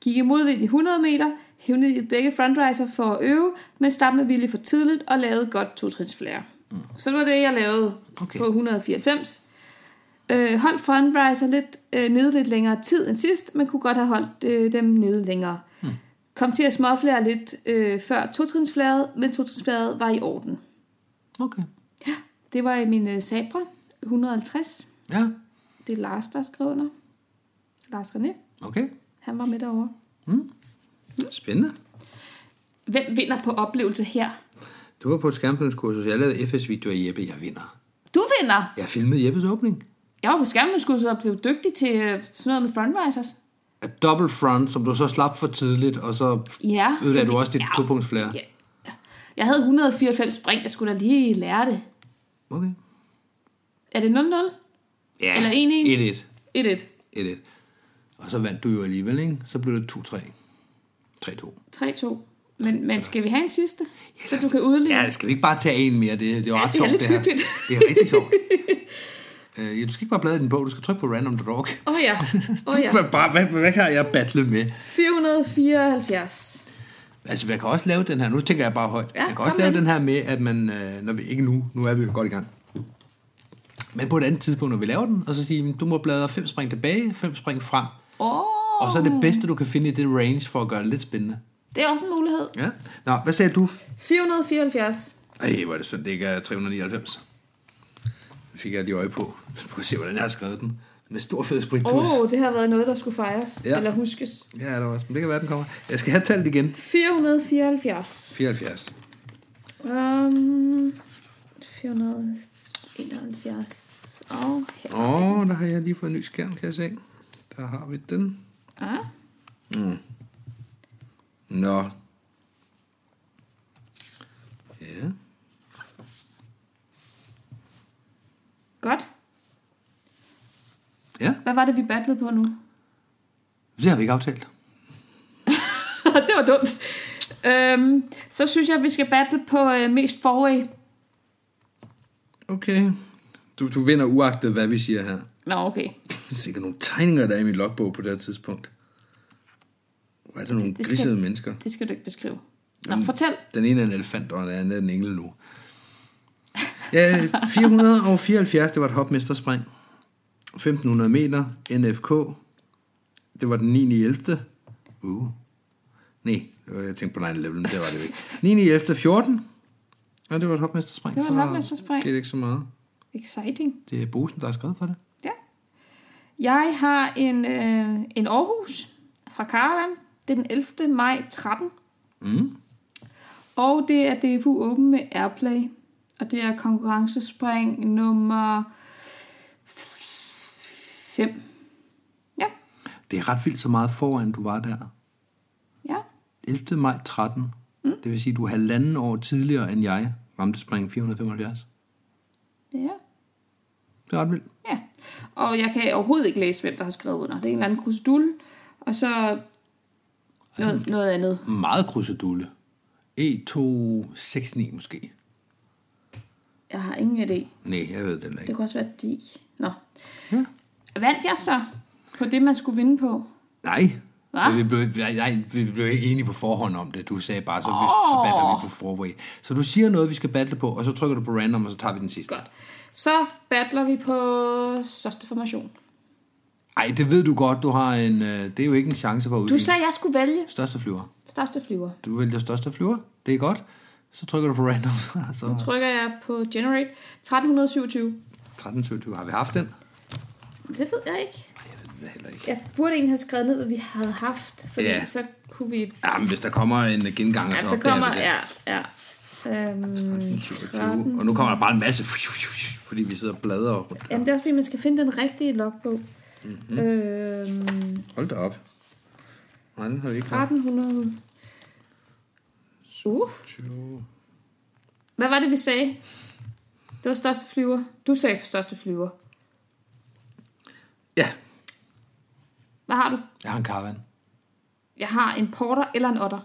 Speaker 3: Gik i modvind i 100 meter, hive ned i begge frontriser for at øve, men slap med vilje for tidligt og lavede godt to trins flere. Mm. Så det var det, jeg lavede
Speaker 2: Okay.
Speaker 3: på 194. Øh, holdt frontriser lidt øh, nede lidt længere tid end sidst, men kunne godt have holdt øh, dem nede længere. Mm. Kom til at småflære lidt øh, før totrinsflæret, men totrinsflæret var i orden.
Speaker 2: Okay.
Speaker 3: Det var i min øh, Sabra 150.
Speaker 2: Ja,
Speaker 3: Det er Lars, der skrev under. Lars René,
Speaker 2: okay.
Speaker 3: han var med derovre.
Speaker 2: Spændende.
Speaker 3: Hvem vinder på oplevelse her?
Speaker 2: Du var på et skærmflyvningskursus. Jeg lavede FS-videoer af Jeppe. Jeg vinder.
Speaker 3: Du vinder!
Speaker 2: Jeg filmede Jeppes åbning.
Speaker 3: Jeg var på skærmen, og blev dygtig til øh, sådan noget med frontrisers.
Speaker 2: At double front, som du så slap for tidligt, og så
Speaker 3: Ja,
Speaker 2: ødelagde du
Speaker 3: fordi-
Speaker 2: også dit
Speaker 3: ja.
Speaker 2: topunktsflære.
Speaker 3: Ja. Jeg havde 194 spring, jeg skulle da lige lære det.
Speaker 2: Okay.
Speaker 3: Er det 0-0?
Speaker 2: Ja,
Speaker 3: Eller 1-1.
Speaker 2: 1-1.
Speaker 3: 1-1.
Speaker 2: 1-1. Og så vandt du jo alligevel, ikke? Så blev det 2-3. 3-2.
Speaker 3: 3-2. Men, men skal vi have en sidste? Så du kan udligne.
Speaker 2: Ja, skal vi ikke bare tage en mere? Det, det var
Speaker 3: Ja,
Speaker 2: ret
Speaker 3: det er
Speaker 2: sjovt,
Speaker 3: lidt
Speaker 2: det her.
Speaker 3: hyggeligt.
Speaker 2: Det er rigtig sjovt. Øh, ja, du skal ikke bare bladre i din bog, du skal trykke på random.org.
Speaker 3: Åh oh, ja. Åh oh, ja.
Speaker 2: Hvad, bare, hvad, hvad har jeg battlet med?
Speaker 3: 474.
Speaker 2: Altså, jeg kan også lave den her, nu tænker jeg bare højt.
Speaker 3: Ja,
Speaker 2: jeg kan også
Speaker 3: kom
Speaker 2: lave
Speaker 3: med.
Speaker 2: den her med, at man, øh, når vi, ikke nu, nu er vi jo godt i gang. Men på et andet tidspunkt, når vi laver den, og så sige, du må bladre fem spring tilbage, fem spring frem.
Speaker 3: Åh,
Speaker 2: Og så er det bedste, du kan finde i det range, for at gøre det lidt spændende.
Speaker 3: det er også en mulighed.
Speaker 2: Ja. Nå, hvad sagde du?
Speaker 3: 474.
Speaker 2: Ej, hvor er det synd, det ikke er 399. Det fik jeg lige øje på. Du kan se, hvordan jeg har skrevet den. Med stor fed
Speaker 3: Åh,
Speaker 2: spritpus.
Speaker 3: oh, det har været noget, der skulle fejres.
Speaker 2: Ja.
Speaker 3: Eller huskes.
Speaker 2: Ja, der var også. Men det kan være, den kommer. Jeg skal have talt igen.
Speaker 3: 474.
Speaker 2: 74.
Speaker 3: Um, 471. Og her.
Speaker 2: Åh, oh, der har jeg lige fået en ny skærm, kan jeg se. Der har vi den.
Speaker 3: Ah,
Speaker 2: Nå. Ja.
Speaker 3: godt.
Speaker 2: Ja,
Speaker 3: Hvad var det, vi battlede på nu?
Speaker 2: det har vi ikke aftalt.
Speaker 3: det var dumt. Øhm, så synes jeg, at vi skal battle på øh, mest forrige.
Speaker 2: Okay. Du, du vinder uagtet, hvad vi siger her.
Speaker 3: Nå, okay.
Speaker 2: Der er sikkert nogle tegninger, der er i min logbog på det her tidspunkt. Hvor er der nogle
Speaker 3: det skal-
Speaker 2: grisede mennesker?
Speaker 3: Det skal du ikke beskrive. Nå, fortæl.
Speaker 2: Den ene er en elefant, og den anden er en engel nu. Ja, 474, det var et hopmesterspring. 1500 meter, NFK. Det var den 9. 11. Uh. Nej, det var- jeg tænkte på 9-11, men det var det ikke. 9. 11. 14. Ja, det var et hopmesterspring.
Speaker 3: Det var et
Speaker 2: Så
Speaker 3: hopmesterspring.
Speaker 2: skete ikke så meget.
Speaker 3: Exciting.
Speaker 2: Det er Bosen, der har skrevet for det.
Speaker 3: Ja.
Speaker 4: Jeg har en, øh, en Aarhus fra Caravan. Det er den 11. maj 13. Mm. Og det er DFU Open med Airplay. Og det er konkurrencespring nummer 5. Ja,
Speaker 2: Det er ret vildt så meget foran, du var der.
Speaker 4: ja,
Speaker 2: 11. maj 13. Mm. Det vil sige, du er halvanden år tidligere end jeg ramte spring 475.
Speaker 4: ja.
Speaker 2: Det er ret vildt.
Speaker 4: Ja, og jeg kan overhovedet ikke læse, hvem der har skrevet under. Det er en eller anden krusdul, og så noget, noget andet.
Speaker 2: Meget E krusedulle. E269 måske.
Speaker 4: Jeg har ingen idé.
Speaker 2: Nej, jeg ved det heller
Speaker 4: Det
Speaker 2: ikke.
Speaker 4: kunne også være de. Nå. Ja. Vandt jeg så på det, man skulle vinde på?
Speaker 2: Nej.
Speaker 4: Hva?
Speaker 2: Vi blev, nej, nej, vi blev ikke enige på forhånd om det. Du sagde bare, så, oh. vi, så battler vi på forway. Så du siger noget, vi skal battle på, og så trykker du på random, og så tager vi den sidste.
Speaker 4: Godt. Så battler vi på største formation.
Speaker 2: Ej, det ved du godt. Du har en, øh, det er jo ikke en chance for at
Speaker 4: Du
Speaker 2: udligne.
Speaker 4: sagde, at jeg skulle vælge
Speaker 2: Største flyver.
Speaker 4: største flyver.
Speaker 2: Du vælger største flyver. Det er godt. Så trykker du på random. og så
Speaker 4: Trykker jeg på generate 1327.
Speaker 2: 1327. Har vi haft den?
Speaker 4: Det ved jeg ikke.
Speaker 2: Jeg ved det heller ikke.
Speaker 4: Jeg burde egentlig have skrevet ned, hvad vi havde haft, fordi
Speaker 2: Ja.
Speaker 4: ja. så kunne vi
Speaker 2: Jamen, hvis der kommer en genganger,
Speaker 4: Ja,
Speaker 2: så
Speaker 4: så
Speaker 2: opdager
Speaker 4: kommer...
Speaker 2: vi det.
Speaker 4: Ja, ja. Øhm,
Speaker 2: 27. Og nu kommer der bare en masse, fordi vi sidder og bladrer rundt.
Speaker 4: jamen, det er også fordi, man skal finde den rigtige logbog.
Speaker 2: Mhm.
Speaker 4: Mm-hmm. Øhm,
Speaker 2: Hold da op. Nej, den har vi ikke haft.
Speaker 4: 1300... Uh,
Speaker 2: 20.
Speaker 4: hvad var det, vi sagde? Det var største flyver. Du sagde for største flyver.
Speaker 2: Ja,
Speaker 4: Hvad har du?
Speaker 2: jeg har en karavan.
Speaker 4: Jeg har en porter eller en otter.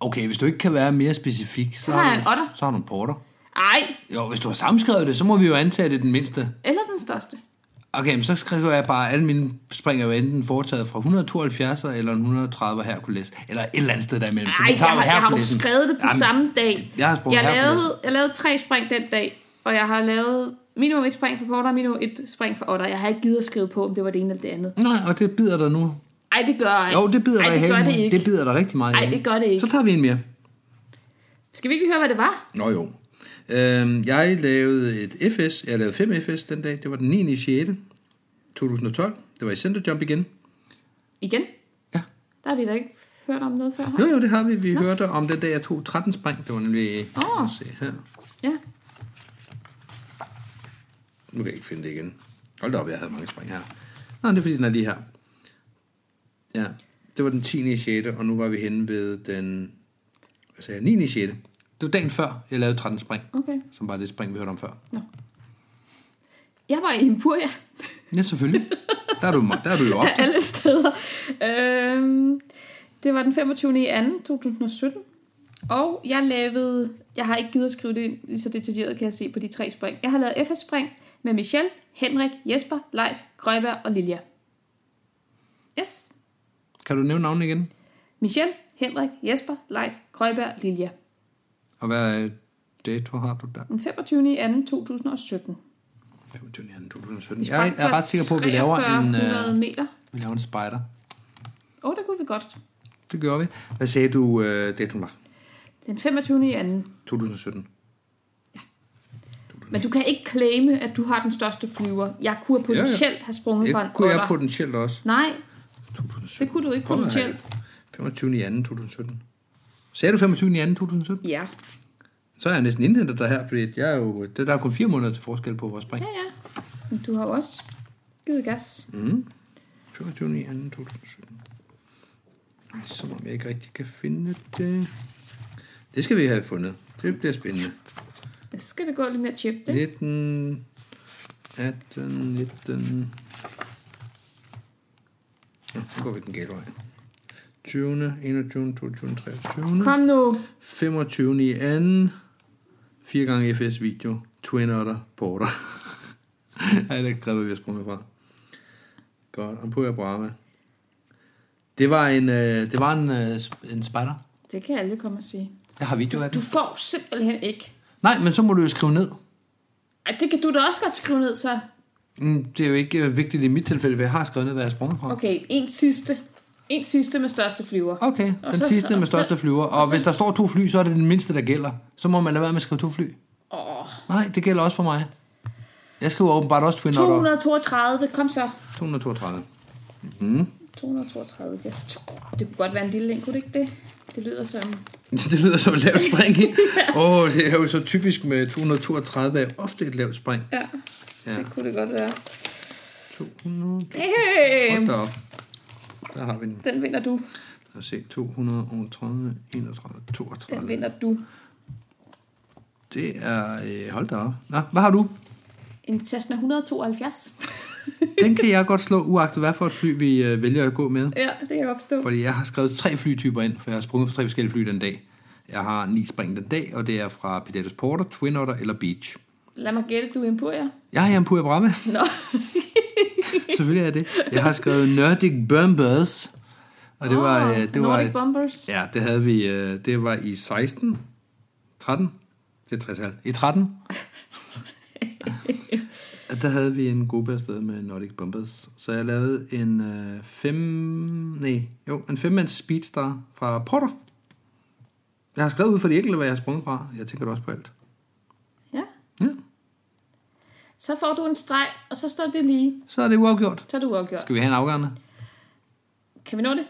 Speaker 2: Okay, hvis du ikke kan være mere specifik, så,
Speaker 4: Så har jeg
Speaker 2: du,
Speaker 4: en otter.
Speaker 2: så har du en porter.
Speaker 4: Ej,
Speaker 2: Jo, hvis du har sammenskrevet det, så må vi jo antage det er den mindste.
Speaker 4: eller den største.
Speaker 2: Okay, men så skriver jeg bare, alle mine springer jo enten foretaget fra 172 eller en 130 Hercules, eller et eller andet sted der imellem.
Speaker 4: Ej, jeg, har, jeg har jo skrevet det på Jamen, samme dag.
Speaker 2: jeg har sprunget
Speaker 4: jeg
Speaker 2: Hercules.
Speaker 4: lavede, jeg lavede tre spring den dag, og jeg har lavet minimum et spring for porter og minimum et spring for otter. Jeg har ikke givet at skrive på, om det var det ene eller det andet.
Speaker 2: Nej, og det bider dig nu.
Speaker 4: Ej, det gør jeg ikke.
Speaker 2: Jo, det bider
Speaker 4: Ej,
Speaker 2: dig i
Speaker 4: det gør
Speaker 2: halen.
Speaker 4: det ikke.
Speaker 2: det bider dig rigtig meget i
Speaker 4: Ej,
Speaker 2: halen.
Speaker 4: det gør det ikke.
Speaker 2: Så tager vi en mere.
Speaker 4: Skal vi ikke lige høre, hvad det var?
Speaker 2: Nå jo. Øhm, jeg lavede et FS. Jeg lavede 5 FS den dag. Det var den 9. 6. 2012. Det var i Centerjump igen.
Speaker 4: Igen?
Speaker 2: Ja.
Speaker 4: Der har vi da ikke hørt om noget før.
Speaker 2: Jo, jo, det har vi. Vi Nå. hørte om den dag, jeg tog 13 spring. Det var nemlig...
Speaker 4: Åh.
Speaker 2: Lad os se her.
Speaker 4: Ja.
Speaker 2: Nu kan jeg ikke finde det igen. Hold da op, jeg havde mange spring her. Nå, det er fordi, den er lige her. Ja, det var den 10. 6. Og nu var vi henne ved den... Hvad sagde jeg? 9. 6. Det var dagen før, jeg lavede 13 spring.
Speaker 4: Okay.
Speaker 2: Som var det spring, vi hørte om før.
Speaker 4: Jeg var i Empuria
Speaker 2: Ja, selvfølgelig. Der er du, der er du jo ofte.
Speaker 4: alle steder. Øhm, det var den 25. i 2. 2017. Og jeg lavede... Jeg har ikke givet at skrive det ind, lige så detaljeret kan jeg se på de tre spring. Jeg har lavet FS-spring med Michelle, Henrik, Jesper, Leif, Grøjberg og Lilja. Yes.
Speaker 2: Kan du nævne navnet igen?
Speaker 4: Michelle, Henrik, Jesper, Leif, Grøjberg og Lilja.
Speaker 2: Og hvad øh, dato har du der?
Speaker 4: Den 25. i 2. 2017.
Speaker 2: 25. 2017. Jeg er ret sikker på, at vi laver en,
Speaker 4: 4300
Speaker 2: øh,
Speaker 4: meter.
Speaker 2: vi laver en spider.
Speaker 4: Åh, oh, det kunne vi godt.
Speaker 2: Det gjorde vi. Hvad sagde du, øh, datoen var?
Speaker 4: Den 25. i anden.
Speaker 2: 2017.
Speaker 4: Men du kan ikke claime, at du har den største flyver. Jeg kunne potentielt ja, ja. have sprunget fra en
Speaker 2: Det kunne jeg
Speaker 4: otter.
Speaker 2: potentielt også.
Speaker 4: Nej,
Speaker 2: 2017.
Speaker 4: det kunne du ikke
Speaker 2: Prøv at høre.
Speaker 4: potentielt.
Speaker 2: 25. 2. 2017. Sagde du 25. 2. 2017?
Speaker 4: Ja.
Speaker 2: Så er jeg næsten indhentet dig her, fordi jeg er jo, der der er kun fire måneder til forskel på vores spring.
Speaker 4: ja, ja. Men du har jo også givet gas.
Speaker 2: 25. 2. 2017. Som om jeg ikke rigtig kan finde det. Det skal vi have fundet. Det bliver spændende.
Speaker 4: Så skal det gå lidt mere tjept, ikke?
Speaker 2: 19, 18, 19. Ja, nu går vi den gale vej. 20, 21, 22, 23.
Speaker 4: Kom nu.
Speaker 2: 25 i anden. 4 gange FS video. Twin Otter Porter. Ej, det er ikke vi har sprunget fra. Godt. Ampuria Brahma. Det var en, øh, det var en, øh, sp- en spider.
Speaker 4: Det kan alle komme og sige.
Speaker 2: Jeg har video af
Speaker 4: Du
Speaker 2: den.
Speaker 4: får simpelthen ikke.
Speaker 2: Nej, men så må du jo skrive ned.
Speaker 4: Ej, det kan du da også godt skrive ned, så.
Speaker 2: Mm, Det er jo ikke øh, vigtigt i mit tilfælde, hvad jeg har skrevet ned, hvad jeg har sprunget fra.
Speaker 4: Okay, en sidste. En sidste med største flyver.
Speaker 2: Okay,
Speaker 4: Og
Speaker 2: den
Speaker 4: så-
Speaker 2: sidste
Speaker 4: og
Speaker 2: med
Speaker 4: så-
Speaker 2: største flyver. Og hvis der står to fly, så er det den mindste, der gælder. Så må man lade være med at skrive to fly.
Speaker 4: Åh,
Speaker 2: Nej, det gælder også for mig. Jeg skriver åbenbart også Twin Otter.
Speaker 4: 232, kom så.
Speaker 2: 232.
Speaker 4: 232, det, det kunne godt være en lille en, kunne det ikke det? Det lyder som...
Speaker 2: Det lyder som et lavt spring, ikke? Åh, oh, det er jo så typisk med 232 er ofte et lavt spring.
Speaker 4: Ja,
Speaker 2: Ja.
Speaker 4: ja. det kunne det godt være.
Speaker 2: 200. Hold
Speaker 4: Damn,
Speaker 2: da op. Der har vi den.
Speaker 4: den vinder du.
Speaker 2: Lad os se. 230, 31,
Speaker 4: Den
Speaker 2: 32.
Speaker 4: vinder du.
Speaker 2: Det er... Øh, hold da op. Nå, hvad har du?
Speaker 4: En Cessna 172.
Speaker 2: Den kan jeg godt slå, uagtet hvad for et fly, vi øh, vælger at gå med.
Speaker 4: Ja, det kan jeg godt forstå.
Speaker 2: Fordi jeg har skrevet tre flytyper ind, for jeg har sprunget for tre forskellige fly den dag. Jeg har ni spring den dag, og det er fra Pilatus Porter, Twin Otter eller Beach.
Speaker 4: Lad mig gætte, du er Emporia.
Speaker 2: Jeg er Jampur Bramme.
Speaker 4: Nå,
Speaker 2: Selvfølgelig er jeg det. Jeg har skrevet Nordic Bombers. Og det var...
Speaker 4: Åh,
Speaker 2: øh, det
Speaker 4: Nordic
Speaker 2: var,
Speaker 4: Bombers.
Speaker 2: Ja, det havde vi... øh, Det var i 16... 13? Det er 60 tal. I 13? Og der havde vi en gruppe afsted med Nordic Bombers. Så jeg lavede en øh, fem... Nej, jo, en femmands speedstar fra Porter. Jeg har skrevet ud for de enkelte, hvad jeg har sprunget fra. Jeg tænker da også på alt.
Speaker 4: Ja.
Speaker 2: Ja,
Speaker 4: Så får du en streg, og så står det lige.
Speaker 2: så er det uafgjort.
Speaker 4: Så er du uafgjort.
Speaker 2: Skal vi have en afgørende?
Speaker 4: Kan vi nå det?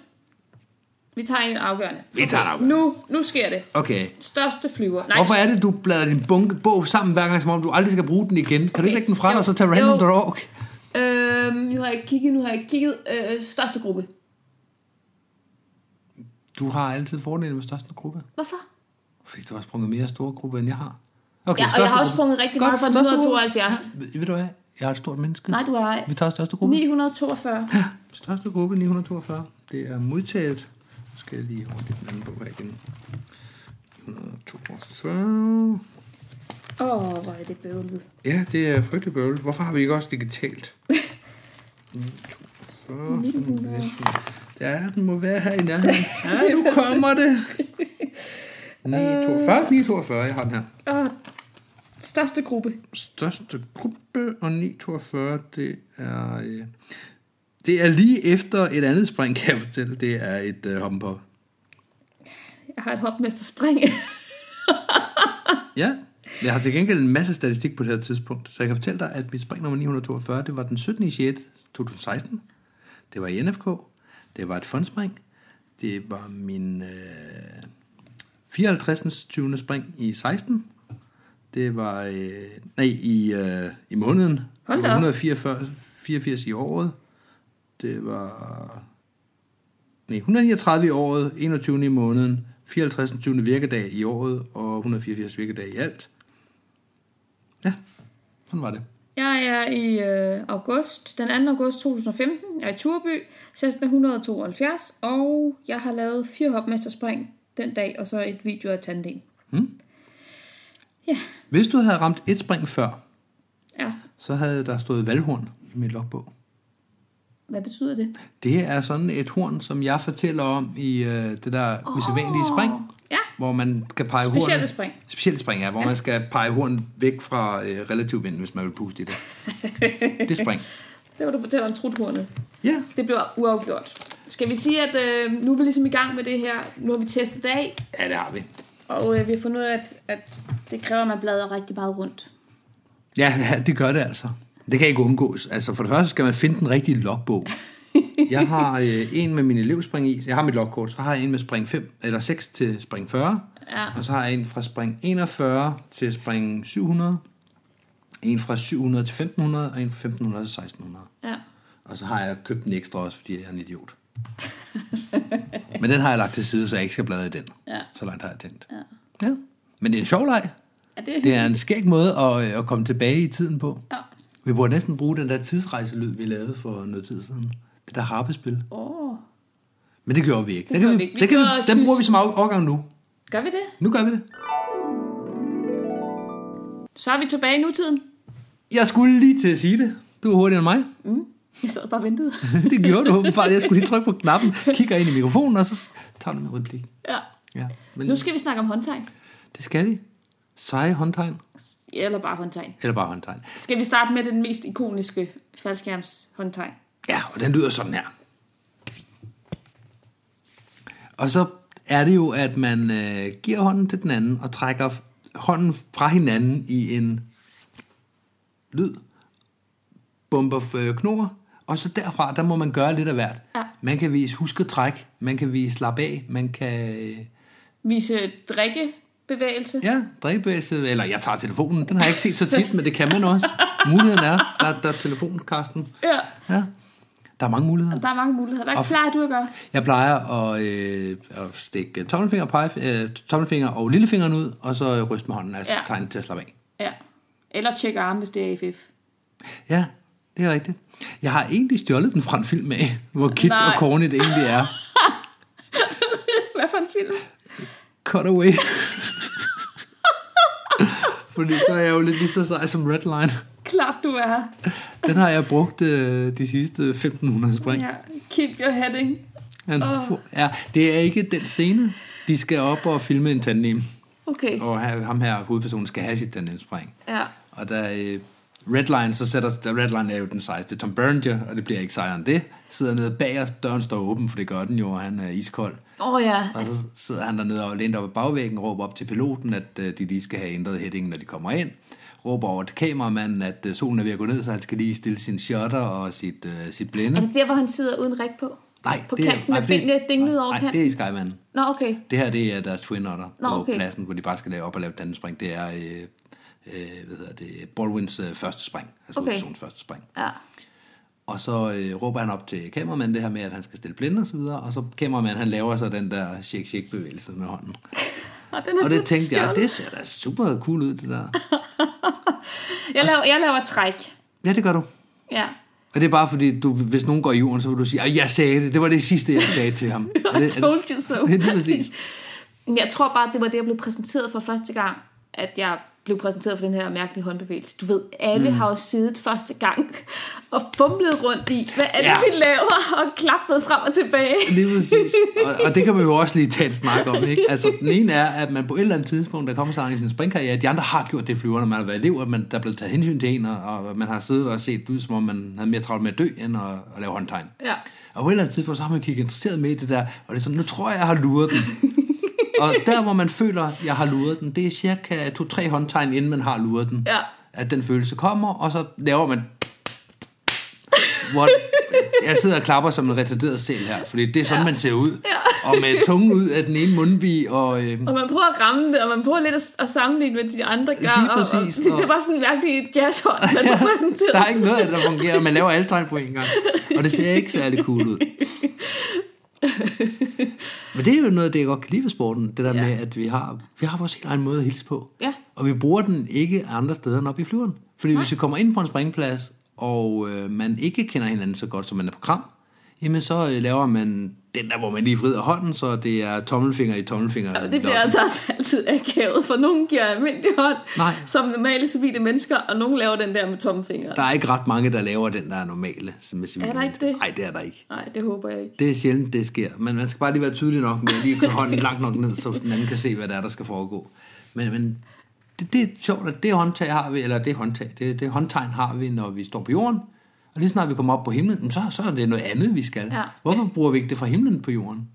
Speaker 4: Vi tager en afgørende.
Speaker 2: Vi tager en afgørende.
Speaker 4: Nu, nu sker det.
Speaker 2: Okay.
Speaker 4: Største flyver. Nej,
Speaker 2: Hvorfor er det, du bladrer din bunke bog sammen hver gang, som om du aldrig skal bruge den igen? Kan du ikke lægge den fra dig, og så tage
Speaker 4: Jo.
Speaker 2: random.org?
Speaker 4: Øhm, nu har jeg ikke kigget, nu har jeg ikke kigget. Øh, største gruppe.
Speaker 2: Du har altid fordelen med største gruppe.
Speaker 4: Hvorfor?
Speaker 2: Fordi du har sprunget mere store gruppe, end jeg har. Okay,
Speaker 4: Ja, og jeg har også sprunget rigtig meget fra
Speaker 2: største gruppe.
Speaker 4: 172.
Speaker 2: Ja, ved- ved du hvad? Jeg er et stort menneske.
Speaker 4: Nej, du har ej.
Speaker 2: Vi tager største gruppe.
Speaker 4: 942.
Speaker 2: Største gruppe, 942. Det er modtaget. Nu skal jeg lige hurtigt den anden bog her igen. 142.
Speaker 4: Åh, oh, hvor er det bøvlet.
Speaker 2: Ja, det er frygtelig bøvlet. Hvorfor har vi ikke også digitalt? 142. Ja, den må være her i nærheden. Ja, nu kommer det. 942. 942, jeg har den her.
Speaker 4: Åh, største gruppe.
Speaker 2: største gruppe, og 942, det er... Øh, det er lige efter et andet spring, kan jeg fortælle. Det er et øh, humper.
Speaker 4: Jeg har et hopmester spring.
Speaker 2: Ja, jeg har til gengæld en masse statistik på det her tidspunkt. Så jeg kan fortælle dig, at mit spring nummer 942, det var den 17. 6. 2016. Det var i NFK. Det var et fondspring. Det var min øh, 54. 20. spring i 16. Det var øh, nej, i, øh, i måneden.
Speaker 4: Hold
Speaker 2: Det var
Speaker 4: da op.
Speaker 2: 144 84 i året. Det var Nej, 139 i året, 21 i måneden, 54 den 20. virkedag i året og 184 virkedag i alt. Ja, sådan var det.
Speaker 4: Jeg er i øh, august, den 2. august 2015. Jeg er i Turby, sæst med 172, og jeg har lavet fire hopmesterspring den dag, og så et video af tandem.
Speaker 2: Hvis du havde ramt et spring før,
Speaker 4: Ja,
Speaker 2: så havde der stået valghorn i mit logbog.
Speaker 4: hvad betyder det?
Speaker 2: Det er sådan et horn, som jeg fortæller om i øh, det der oh. usædvanlige spring,
Speaker 4: Ja,
Speaker 2: hvor man skal pege
Speaker 4: Specielle
Speaker 2: hornet-
Speaker 4: spring.
Speaker 2: Specielle spring, ja, hvor ja. man skal pege hornet væk fra øh, relativ vind, hvis man vil puste i det. det spring.
Speaker 4: det var du fortæller om truthornet.
Speaker 2: Ja,
Speaker 4: Det blev uafgjort. Skal vi sige, at øh, nu er vi ligesom i gang med det her. Nu har vi testet af,
Speaker 2: ja det har vi.
Speaker 4: og øh, vi har fundet ud af, at, at det kræver, at man bladrer rigtig meget rundt.
Speaker 2: Ja, ja, det gør det altså. Det kan ikke undgås. Altså, for det første skal man finde den rigtige logbog. Jeg har øh, en med min elevspring i. Jeg har mit logkort. Så har jeg en med spring 5, eller 6 til spring 40.
Speaker 4: Ja.
Speaker 2: Og så har jeg en fra spring 41 til spring 700. En fra 700 til 1500, og en fra 1500 til 1600.
Speaker 4: Ja.
Speaker 2: Og så har jeg købt den ekstra også, fordi jeg er en idiot. Men den har jeg lagt til side, så jeg ikke skal bladre i den.
Speaker 4: Ja.
Speaker 2: Så langt har jeg tænkt. Ja. ja. Men det er en sjov leg.
Speaker 4: Ja, det er
Speaker 2: Det er en skæg måde at, øh, at komme tilbage i tiden på.
Speaker 4: Ja.
Speaker 2: Vi burde næsten bruge den der tidsrejselyd, vi lavede for noget tid siden. Det der harpespil.
Speaker 4: Åh,
Speaker 2: Men det gjorde vi ikke. Det, kan
Speaker 4: gjorde vi
Speaker 2: vi,
Speaker 4: ikke. Vi
Speaker 2: det kan vi,
Speaker 4: gjorde
Speaker 2: den
Speaker 4: kys.
Speaker 2: bruger vi som af- overgang nu.
Speaker 4: gør vi det?
Speaker 2: Nu gør vi det.
Speaker 4: Så er vi tilbage i nutiden.
Speaker 2: Jeg skulle lige til at sige det. Du er hurtigere end mig.
Speaker 4: Jeg sad bare og ventede.
Speaker 2: Det gjorde du åbenbart. Jeg skulle lige trykke på knappen, kigger ind i mikrofonen, og så tager du min replik.
Speaker 4: ja.
Speaker 2: Ja, men
Speaker 4: Nu skal vi snakke om håndtegn.
Speaker 2: det skal vi. Seje håndtegn.
Speaker 4: Ja, Eller bare håndtegn.
Speaker 2: Eller bare håndtegn.
Speaker 4: Skal vi starte med den mest ikoniske faldskærmshåndtegn?
Speaker 2: Ja, og den lyder sådan her. Og så er det jo, at man øh, giver hånden til den anden og trækker hånden fra hinanden i en lyd. bomber øh, knor, og så derfra, der må man gøre lidt af hvert.
Speaker 4: Ja.
Speaker 2: Man kan vise husketræk, man kan vise slap af, man kan... Øh,
Speaker 4: Vise drikkebevægelse. Ja.
Speaker 2: ja, dræbevægelse, eller jeg tager telefonen. Den har jeg ikke set så tit, men det kan man også. Muligheden er, der, der er telefonen, Karsten.
Speaker 4: ja.
Speaker 2: Ja, der er mange muligheder.
Speaker 4: Der er mange muligheder. Hvad
Speaker 2: Og-
Speaker 4: klarer du at gøre?
Speaker 2: Jeg plejer at, øh, at stikke tommelfinger, pege, øh, tommelfinger og lillefingeren ud, og så øh, ryste med hånden, altså
Speaker 4: Ja.
Speaker 2: ja. tegn til at slappe af.
Speaker 4: Ja. Eller tjekke arme, hvis det er AFF.
Speaker 2: Ja, det er rigtigt. Jeg har egentlig stjålet den fra en film af, hvor kids
Speaker 4: Nej.
Speaker 2: og corny det egentlig er.
Speaker 4: Hvad for en film?
Speaker 2: Cut away. Fordi så er jeg jo lidt lige så sej som Redline.
Speaker 4: Klart, du er.
Speaker 2: Den har jeg brugt øh, de sidste 1500 spring.
Speaker 4: Ja. Keep your heading.
Speaker 2: Han,
Speaker 4: Åh.
Speaker 2: ja, det er ikke den scene. De skal op og filme en tandem.
Speaker 4: Okay.
Speaker 2: Og ha- ham her, hovedpersonen, skal have sit tandemspring.
Speaker 4: Ja.
Speaker 2: Og der øh, Redline, så sætter der Redline er jo den sejeste Tom Berenger, og det bliver ikke sejere end det. Sidder nede bag os, døren står åben, for det gør den jo, og han er iskold.
Speaker 4: Åh oh, ja.
Speaker 2: Og så sidder han dernede og lænt op ad bagvæggen, råber op til piloten, at øh, de lige skal have ændret headingen, når de kommer ind. Råber over til kameramanden, at øh, solen er ved at gå ned, så han skal lige stille sin shutter og sit, øh, sit blinde.
Speaker 4: Er det der, hvor han sidder uden rig på?
Speaker 2: Nej,
Speaker 4: på
Speaker 2: det er,
Speaker 4: kanten med benene dinglet over
Speaker 2: nej, nej,
Speaker 4: kanten?
Speaker 2: det er i Skyman.
Speaker 4: Nå, okay.
Speaker 2: Det her, det er deres Twin Otter
Speaker 4: Nå,
Speaker 2: Nå, på
Speaker 4: okay.
Speaker 2: okay. pladsen, hvor de bare skal lave op og lave et spring. Det er, øh, øh, hvad hedder det, Baldwins øh, første spring. Altså
Speaker 4: Okay.
Speaker 2: okay. første spring.
Speaker 4: Ja.
Speaker 2: Og så øh, råber han op til kameramanden det her med, at han skal stille blinde og så videre. Og så kameramanden, han laver så den der shake shake bevægelse med hånden.
Speaker 4: Og, den er
Speaker 2: Og det
Speaker 4: blevet
Speaker 2: tænkte jeg, "Ah,
Speaker 4: stjålet.
Speaker 2: det ser da super cool ud, det der.
Speaker 4: Jeg
Speaker 2: Altså-
Speaker 4: laver, jeg laver træk.
Speaker 2: Ja, det gør du.
Speaker 4: Ja.
Speaker 2: Og det er bare fordi, du, hvis nogen går i jorden, så vil du sige, at jeg sagde det. Det var det sidste, jeg sagde til ham. Og
Speaker 4: I
Speaker 2: det,
Speaker 4: told you so.
Speaker 2: Det er præcis.
Speaker 4: Men jeg tror bare, det var det, jeg blev præsenteret for første gang, at jeg blev præsenteret for den her mærkelige håndbevægelse. Du ved, alle mm. har jo siddet første gang og fumlet rundt i, hvad er det, ja.
Speaker 2: Ja.
Speaker 4: vi laver, og klappet frem og tilbage.
Speaker 2: Lige præcis. Og, og det kan man jo også lige tage en snak om, ikke? Altså, den ene er, at man på et eller andet tidspunkt, der kommer sig i sin springkarriere, de andre har gjort det i flyverne, man har været elev, at man, der er blevet taget hensyn til en, og, og man har siddet og set ud, som om man havde mere travlt med at dø, end at, at lave håndtegn.
Speaker 4: Ja.
Speaker 2: Og på et eller andet tidspunkt, så har man kigget interesseret med i det der, og det er sådan, nu tror jeg, jeg har luret den. og der, hvor man føler, jeg har luret den, det er cirka to-tre håndtegn, inden man har luret den.
Speaker 4: Ja.
Speaker 2: At den følelse kommer, og så laver man hvor jeg sidder og klapper som en retarderet selv her, fordi det er sådan, ja. man ser ud.
Speaker 4: Ja.
Speaker 2: Og med tungen ud af den ene mundvig, og øh,
Speaker 4: Og man prøver at ramme det, og man prøver lidt at, at sammenligne med de andre gør.
Speaker 2: Lige
Speaker 4: og-
Speaker 2: præcis,
Speaker 4: Og, og,
Speaker 2: og-
Speaker 4: det var sådan en mærkelig jazzhånd, man ja, præsenteret.
Speaker 2: der er ikke noget af det, der fungerer. Man laver alle tegn på en gang, og det ser ikke særlig cool ud. Men det er jo noget, af det jeg godt kan lide ved sporten, det der
Speaker 4: Ja.
Speaker 2: ja. med, at vi har, vi har vores helt egen måde at hilse på.
Speaker 4: Ja.
Speaker 2: Og vi bruger den ikke andre steder end op i flyveren. Fordi Nej. hvis vi kommer ind på en springplads, og øh, man ikke kender hinanden så godt, som man er på kram, jamen så øh, laver man den der, hvor man lige vrider hånden, så det er tommelfinger i tommelfinger.
Speaker 4: Og det bliver altså også altid akavet, for nogen giver almindelig hånd,
Speaker 2: Nej.
Speaker 4: som normale civile mennesker, og nogen laver den der med tommelfingeren.
Speaker 2: Der er ikke ret mange, der laver den der er normale. Som er
Speaker 4: Er der ikke det?
Speaker 2: Nej, det er der ikke.
Speaker 4: Nej, det håber jeg ikke.
Speaker 2: Det er sjældent, det sker. Men man skal bare lige være tydelig nok med at lige køre hånden langt nok ned, så den anden kan se, hvad der er, der skal foregå. Men, men det, det er sjovt, at det håndtag har vi, eller det håndtag, det, det håndtegn har vi, når vi står på jorden. Og lige snart vi kommer op på himlen, så, så er det noget andet, vi skal.
Speaker 4: Ja.
Speaker 2: Hvorfor bruger vi ikke det fra himlen på jorden?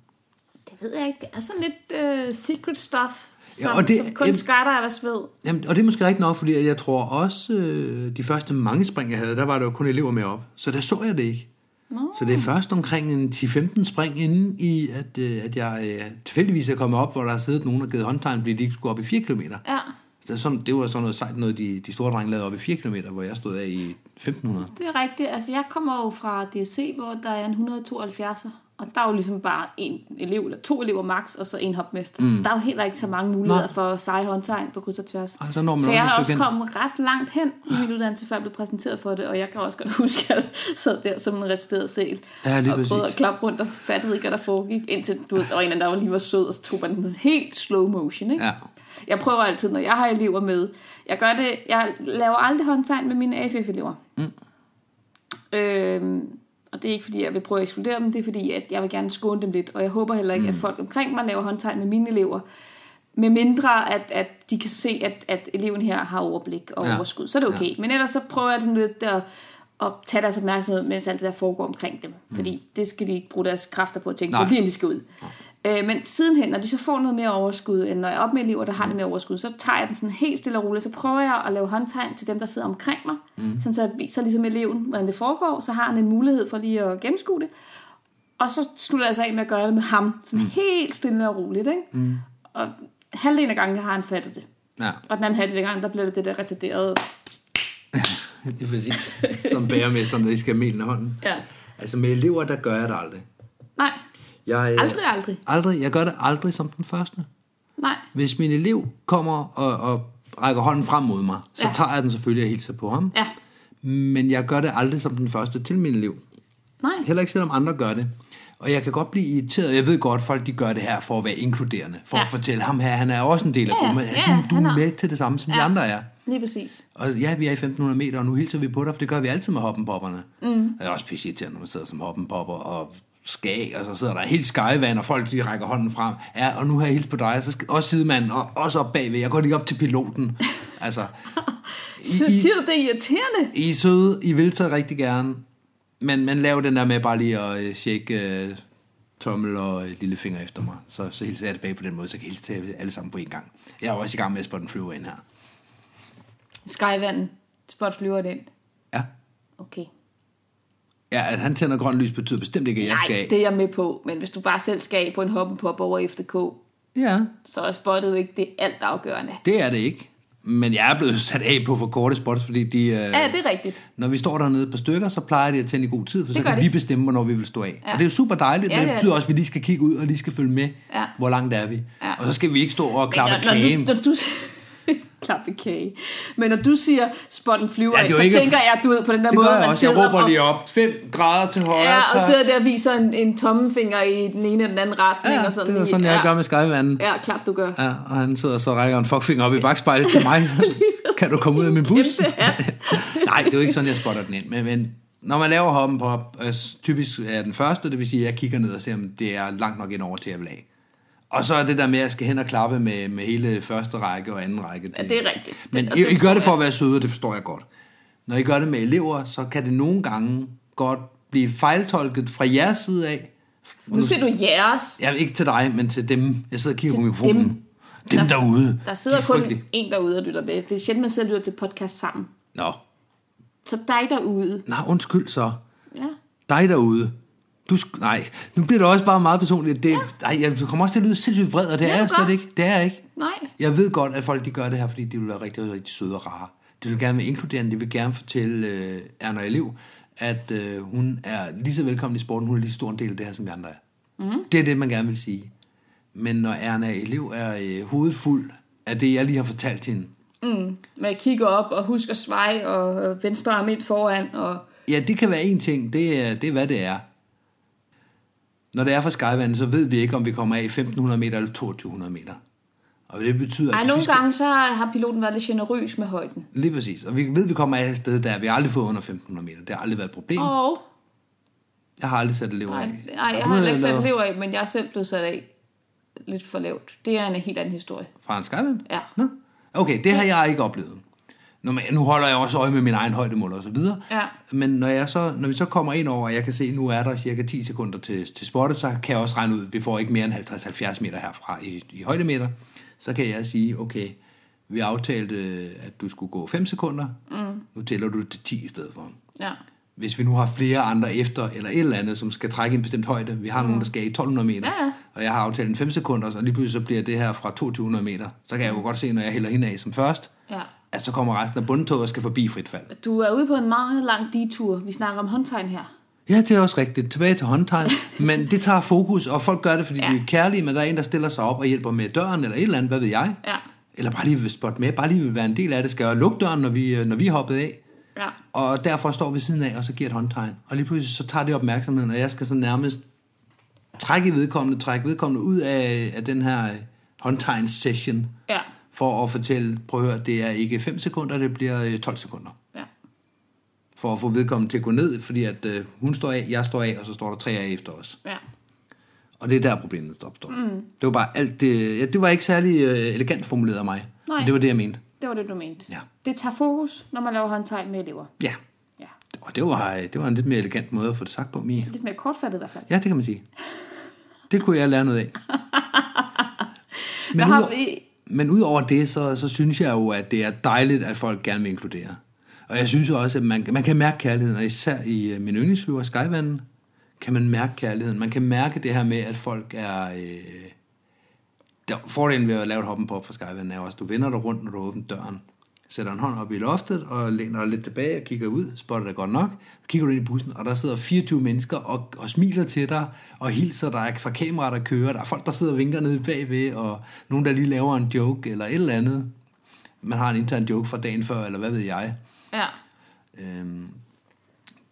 Speaker 4: Det ved jeg ikke. Det er sådan lidt uh, secret stuff, som,
Speaker 2: Ja,
Speaker 4: ja,
Speaker 2: og det-
Speaker 4: som kun
Speaker 2: jamen-
Speaker 4: skatter af os ved.
Speaker 2: Jamen, og det er måske rigtigt nok, fordi jeg tror også, øh, de første mange spring, jeg havde, der var der jo kun elever med op. Så der så jeg det ikke.
Speaker 4: Nå.
Speaker 2: Så det er først omkring en 10-15 spring inden i, at, øh, at jeg øh, tilfældigvis er kommet op, hvor der har siddet nogen og givet håndtegn, fordi de ikke skulle op i 4 km.
Speaker 4: Ja,
Speaker 2: Så sådan, det var sådan noget sejt noget, de, de store drenge lavede op i 4 km, hvor jeg stod af i 1500.
Speaker 4: det er rigtigt. Altså, jeg kommer jo fra DFC, hvor der er en 172'er, og der er jo ligesom bare en elev, eller to elever max, og så en hopmester. Mm. Så der er jo heller ikke så mange muligheder Nej.
Speaker 2: Nej.
Speaker 4: for seje håndtegn på kryds og tværs.
Speaker 2: Ej, så når man
Speaker 4: så
Speaker 2: også
Speaker 4: jeg
Speaker 2: et
Speaker 4: har
Speaker 2: stykke
Speaker 4: også
Speaker 2: hen.
Speaker 4: kommet ret langt hen i min uddannelse, før jeg blev præsenteret for det, og jeg kan også godt huske, at jeg sad der som en retarderet del,
Speaker 2: Ja, lige
Speaker 4: og prøvede
Speaker 2: præcis.
Speaker 4: at klappe rundt og fattede ikke, hvad der foregik, indtil du ved, der var en, eller anden, der lige var sød, og så tog man den helt slow motion, ikke?
Speaker 2: Ja.
Speaker 4: Jeg prøver altid, når jeg har elever med. Jeg gør det, jeg laver aldrig håndtegn med mine AFF-elever. Mm. Øhm, og det er ikke fordi, jeg vil prøve at ekskludere dem, det er fordi, at jeg vil gerne skåne dem lidt, og jeg håber heller ikke, mm. at folk omkring mig laver håndtegn med mine elever. Med mindre, at, at de kan se, at, at eleven her har overblik og ja.
Speaker 2: Ja.
Speaker 4: overskud, så er det okay. Ja. Men ellers så prøver jeg sådan lidt at, at tage deres opmærksomhed, mens alt det der foregår omkring dem. Mm. Fordi det skal de ikke bruge deres kræfter på at tænke
Speaker 2: Nej.
Speaker 4: på, lige inden de skal ud. Øh, men sidenhen, når de så får noget mere overskud, end når jeg er op med elever, der har lidt mere overskud, så tager jeg den sådan helt stille og roligt, så prøver jeg at lave håndtegn til dem, der sidder omkring mig, mm. sådan så jeg viser ligesom eleven, hvordan det foregår, så har han en mulighed for lige at gennemskue det. Og så slutter jeg så af med at gøre det med ham, sådan mm. helt stille og roligt, ikke? Mm. Og halvdelen af gangen har han fattet det.
Speaker 2: Ja,
Speaker 4: Og den anden halvdel af gangen, der bliver det det der retarderede.
Speaker 2: det er præcis. Som bæremesteren, der lige skal have melen i hånden.
Speaker 4: Ja.
Speaker 2: Altså med elever, der gør jeg det aldrig.
Speaker 4: Nej,
Speaker 2: Jeg, øh,
Speaker 4: aldrig, aldrig.
Speaker 2: Aldrig. Jeg gør det aldrig som den første.
Speaker 4: Nej,
Speaker 2: Hvis min elev kommer og, og rækker hånden frem mod mig, så
Speaker 4: Ja.
Speaker 2: tager jeg den selvfølgelig og hilser på ham.
Speaker 4: ja.
Speaker 2: Men jeg gør det aldrig som den første til min elev.
Speaker 4: Nej,
Speaker 2: Heller ikke selvom andre gør det. Og jeg kan godt blive irriteret. Jeg ved godt, folk de gør det her for at være inkluderende. For ja.
Speaker 4: Ja.
Speaker 2: at fortælle ham her, han er også en del af
Speaker 4: Ja, ja.
Speaker 2: gruppen.
Speaker 4: Ja, ja.
Speaker 2: du, du
Speaker 4: Han
Speaker 2: er
Speaker 4: er-
Speaker 2: med til det samme, som ja. de
Speaker 4: Ja.
Speaker 2: andre er.
Speaker 4: lige præcis.
Speaker 2: Og ja, vi er i 1500 meter, og nu hilser vi på dig, for det gør vi altid med hoppenpopperne. Mm. Det er også pisse irriterende, når man sidder som hoppenpopper og skag, og så sidder der helt skejvand, og folk de rækker hånden frem. Ja, og nu har jeg hilst på dig, og så skal også sidemanden, og også op bagved. Jeg går lige op til piloten. Altså,
Speaker 4: Så siger du, det er irriterende?
Speaker 2: I er søde, I vil så rigtig gerne, men, men lav den der med bare lige at øh, tjekke øh, tommel og øh, lille finger efter mig. Så, så hilser jeg tilbage på den måde, så jeg kan jeg hilse til jer alle sammen på en gang. Jeg er jo også i gang med at spotte en flyver ind her.
Speaker 4: Skyvanden. Spot flyver den.
Speaker 2: Ja.
Speaker 4: Okay.
Speaker 2: Ja, at han tænder grønt lys betyder bestemt ikke, at jeg skal
Speaker 4: Nej,
Speaker 2: af.
Speaker 4: det er jeg med på. Men hvis du bare selv skal af på en hoppen på over FDK,
Speaker 2: Ja,
Speaker 4: så er spottet jo ikke det alt afgørende.
Speaker 2: det er det ikke. Men jeg er blevet sat af på for korte spots, fordi de, øh,
Speaker 4: Ja, det er rigtigt.
Speaker 2: når vi står dernede et par stykker, så plejer de at tænde i god tid, for så
Speaker 4: Det gør
Speaker 2: kan
Speaker 4: de.
Speaker 2: vi bestemme, hvornår vi vil stå af. Ja.
Speaker 4: Ja.
Speaker 2: Og det er jo super dejligt,
Speaker 4: Ja,
Speaker 2: men det
Speaker 4: det er
Speaker 2: betyder
Speaker 4: det.
Speaker 2: også, at vi lige skal kigge ud og lige skal følge med,
Speaker 4: Ja.
Speaker 2: hvor langt er vi.
Speaker 4: Ja.
Speaker 2: Og så skal vi ikke stå og klappe
Speaker 4: når,
Speaker 2: kagen.
Speaker 4: Når du, når du klappe kage. Men når du siger, spot en flyver
Speaker 2: Ja,
Speaker 4: ja,
Speaker 2: det er jo
Speaker 4: af, så
Speaker 2: ikke-
Speaker 4: ikke... tænker jeg, du ved, på den der
Speaker 2: Det
Speaker 4: måde,
Speaker 2: gør jeg
Speaker 4: man
Speaker 2: også. Jeg
Speaker 4: sidder
Speaker 2: råber
Speaker 4: og-
Speaker 2: lige op. 5 grader til højre.
Speaker 4: Ja, og
Speaker 2: tak.
Speaker 4: sidder der og viser en, en tommefinger i den ene eller den anden retning.
Speaker 2: ja,
Speaker 4: og sådan
Speaker 2: det er
Speaker 4: lige.
Speaker 2: sådan, jeg
Speaker 4: ja.
Speaker 2: gør med skyvanden.
Speaker 4: Ja, klart du gør.
Speaker 2: Ja, og han sidder så og rækker en fuckfinger op i bagspejlet til mig. kan du komme ud af min bus?
Speaker 4: Kæmpe hat.
Speaker 2: Nej, det er jo ikke sådan, jeg spotter den ind. Men, men når man laver hoppen på hop, øh, typisk er jeg den første, det vil sige, at jeg kigger ned og ser, om det er langt nok ind over til, jeg vil af. Og så er det der med, at jeg skal hen og klappe med, med hele første række og anden række.
Speaker 4: Ja, det er rigtigt.
Speaker 2: Men
Speaker 4: Det- og
Speaker 2: I,
Speaker 4: det
Speaker 2: I gør
Speaker 4: forstår
Speaker 2: det for at være søde, og det forstår jeg godt. Når I gør det med elever, så kan det nogle gange godt blive fejltolket fra jeres side af.
Speaker 4: Nu ser du jeres.
Speaker 2: Ja, ikke til dig, men til dem. Jeg sidder og kigger på mikrofonen. Dem, dem derude.
Speaker 4: Der sidder
Speaker 2: De er
Speaker 4: kun
Speaker 2: frygtelige.
Speaker 4: en derude og lytter med. Det er sjældent, man sidder og lytter til podcast sammen.
Speaker 2: Nå.
Speaker 4: Så dig derude.
Speaker 2: Nå, undskyld så.
Speaker 4: Ja.
Speaker 2: Dig derude. Du sk- nej, nu bliver det også bare meget personligt. Det, ja. nej, jeg kommer også til at lyde sindssygt vred, og det
Speaker 4: Ja,
Speaker 2: er jeg
Speaker 4: du
Speaker 2: slet
Speaker 4: gør.
Speaker 2: ikke. Det er jeg ikke.
Speaker 4: Nej.
Speaker 2: Jeg ved godt, at folk de gør det her, fordi de vil være rigtig, rigtig søde og rare. De vil gerne være inkluderende. De vil gerne fortælle øh, Erna Elev, at øh, hun er lige så velkommen i sporten. Hun er lige så stor en del af det her, som vi andre er.
Speaker 4: Mhm.
Speaker 2: Mm. Det er det, man gerne vil sige. Men når Erna Elev er øh, hovedet fuld af det, jeg lige har fortalt hende,
Speaker 4: Man kigger op og husker svej og øh, venstre arm ind foran. Og...
Speaker 2: Ja, det kan være en ting. Det er, det er, hvad det er. Når det er for skyvandet, så ved vi ikke, om vi kommer af 1500 meter eller 2200 meter. Og det betyder...
Speaker 4: Ej,
Speaker 2: hvis vi
Speaker 4: nogle
Speaker 2: skal-
Speaker 4: gange så har piloten været lidt generøs med højden.
Speaker 2: Lige præcis. Og vi ved, at vi kommer af et sted, der vi har aldrig fået under 1500 meter. Det har aldrig været et problem. Oh.
Speaker 4: Og
Speaker 2: Jeg har aldrig sat elever
Speaker 4: nej,
Speaker 2: af.
Speaker 4: nej, jeg har heller ikke sat lever af, men jeg er selv blevet sat af lidt for lavt. Det er en helt anden historie.
Speaker 2: Fra en skyvand?
Speaker 4: Ja.
Speaker 2: Nå. Okay, det har jeg ikke oplevet. Nå, men nu holder jeg også øje med min egen højdemål og så videre.
Speaker 4: Ja.
Speaker 2: Men når, jeg så, når vi så kommer ind over, og jeg kan se, at nu er der cirka 10 sekunder til, til spottet, så kan jeg også regne ud, at vi får ikke mere end 50-70 meter herfra i, i højdemeter. Så kan jeg sige, okay, vi aftalte, øh, at du skulle gå 5 sekunder. Mm. Nu tæller du til 10 i stedet for.
Speaker 4: Ja.
Speaker 2: Hvis vi nu har flere andre efter, eller et eller andet, som skal trække en bestemt højde. Vi har mm. nogen, der skal i 1200 meter,
Speaker 4: Ja, ja.
Speaker 2: og jeg har aftalt en 5 sekunder, og lige pludselig så bliver det her fra 2200 meter. Så kan jeg jo godt se, når jeg hælder hende af som først,
Speaker 4: Ja.
Speaker 2: at så kommer resten af bundtoget og skal forbi frit fald.
Speaker 4: Du er ude på en meget lang detur. Vi snakker om håndtegn her.
Speaker 2: Ja, det er også rigtigt. Tilbage til håndtegn. Men det tager fokus, og folk gør det, fordi ja.
Speaker 4: Ja.
Speaker 2: de er kærlige, men der er en, der stiller sig op og hjælper med døren, eller et eller andet, hvad ved jeg.
Speaker 4: Ja.
Speaker 2: Eller bare lige vil spotte med, bare lige vil være en del af det. Skal jeg lukke døren, når vi, når vi er hoppet af?
Speaker 4: Ja.
Speaker 2: Og derfor står vi siden af, og så giver et håndtegn. Og lige pludselig så tager det opmærksomheden, og jeg skal så nærmest trække vedkommende, trække vedkommende ud af, af den her øh, håndtegns-session,
Speaker 4: Ja.
Speaker 2: for at fortælle, prøv at høre, det er ikke 5 sekunder, det bliver øh, 12 sekunder
Speaker 4: Ja.
Speaker 2: for at få vedkommende til at gå ned, fordi at øh, hun står af, jeg står af, og så står der tre af efter os.
Speaker 4: Ja.
Speaker 2: Og det er der problemet opstår. Mm. Det var bare alt det, ja, det var ikke særlig øh, elegant formuleret af mig.
Speaker 4: Nej.
Speaker 2: Men det var det, jeg mente.
Speaker 4: Det var det, du mente.
Speaker 2: Ja.
Speaker 4: Det tager fokus, når man laver håndtegn med elever.
Speaker 2: Ja,
Speaker 4: Ja.
Speaker 2: og det var, øh, det var en lidt mere elegant måde at få det sagt på, Mie.
Speaker 4: Lidt mere kortfattet i hvert fald.
Speaker 2: Ja, det kan man sige. Det kunne jeg lære noget af. Men,
Speaker 4: Der har
Speaker 2: udo-
Speaker 4: vi-
Speaker 2: men udover det, så, så synes jeg jo, at det er dejligt, at folk gerne vil inkludere. Og jeg synes jo også, at man, man kan mærke kærligheden, og især i øh, min yndlingsflyver, Skyvanden, kan man mærke kærligheden. Man kan mærke det her med, at folk er... Øh, der, fordelen ved at lave et hoppen på fra Skyvanden er også, at du vender dig rundt, når du åbner døren. Sætter en hånd op i loftet og læner dig lidt tilbage og kigger ud, spotter dig godt nok. Kigger du ind i bussen, og der sidder 24 mennesker og, og smiler til dig og hilser dig fra kameraet, der kører. Der er folk, der sidder og vinker nede bagved, og nogen, der lige laver en joke eller et eller andet. Man har en intern joke fra dagen før, eller hvad ved jeg.
Speaker 4: Ja.
Speaker 2: Øhm,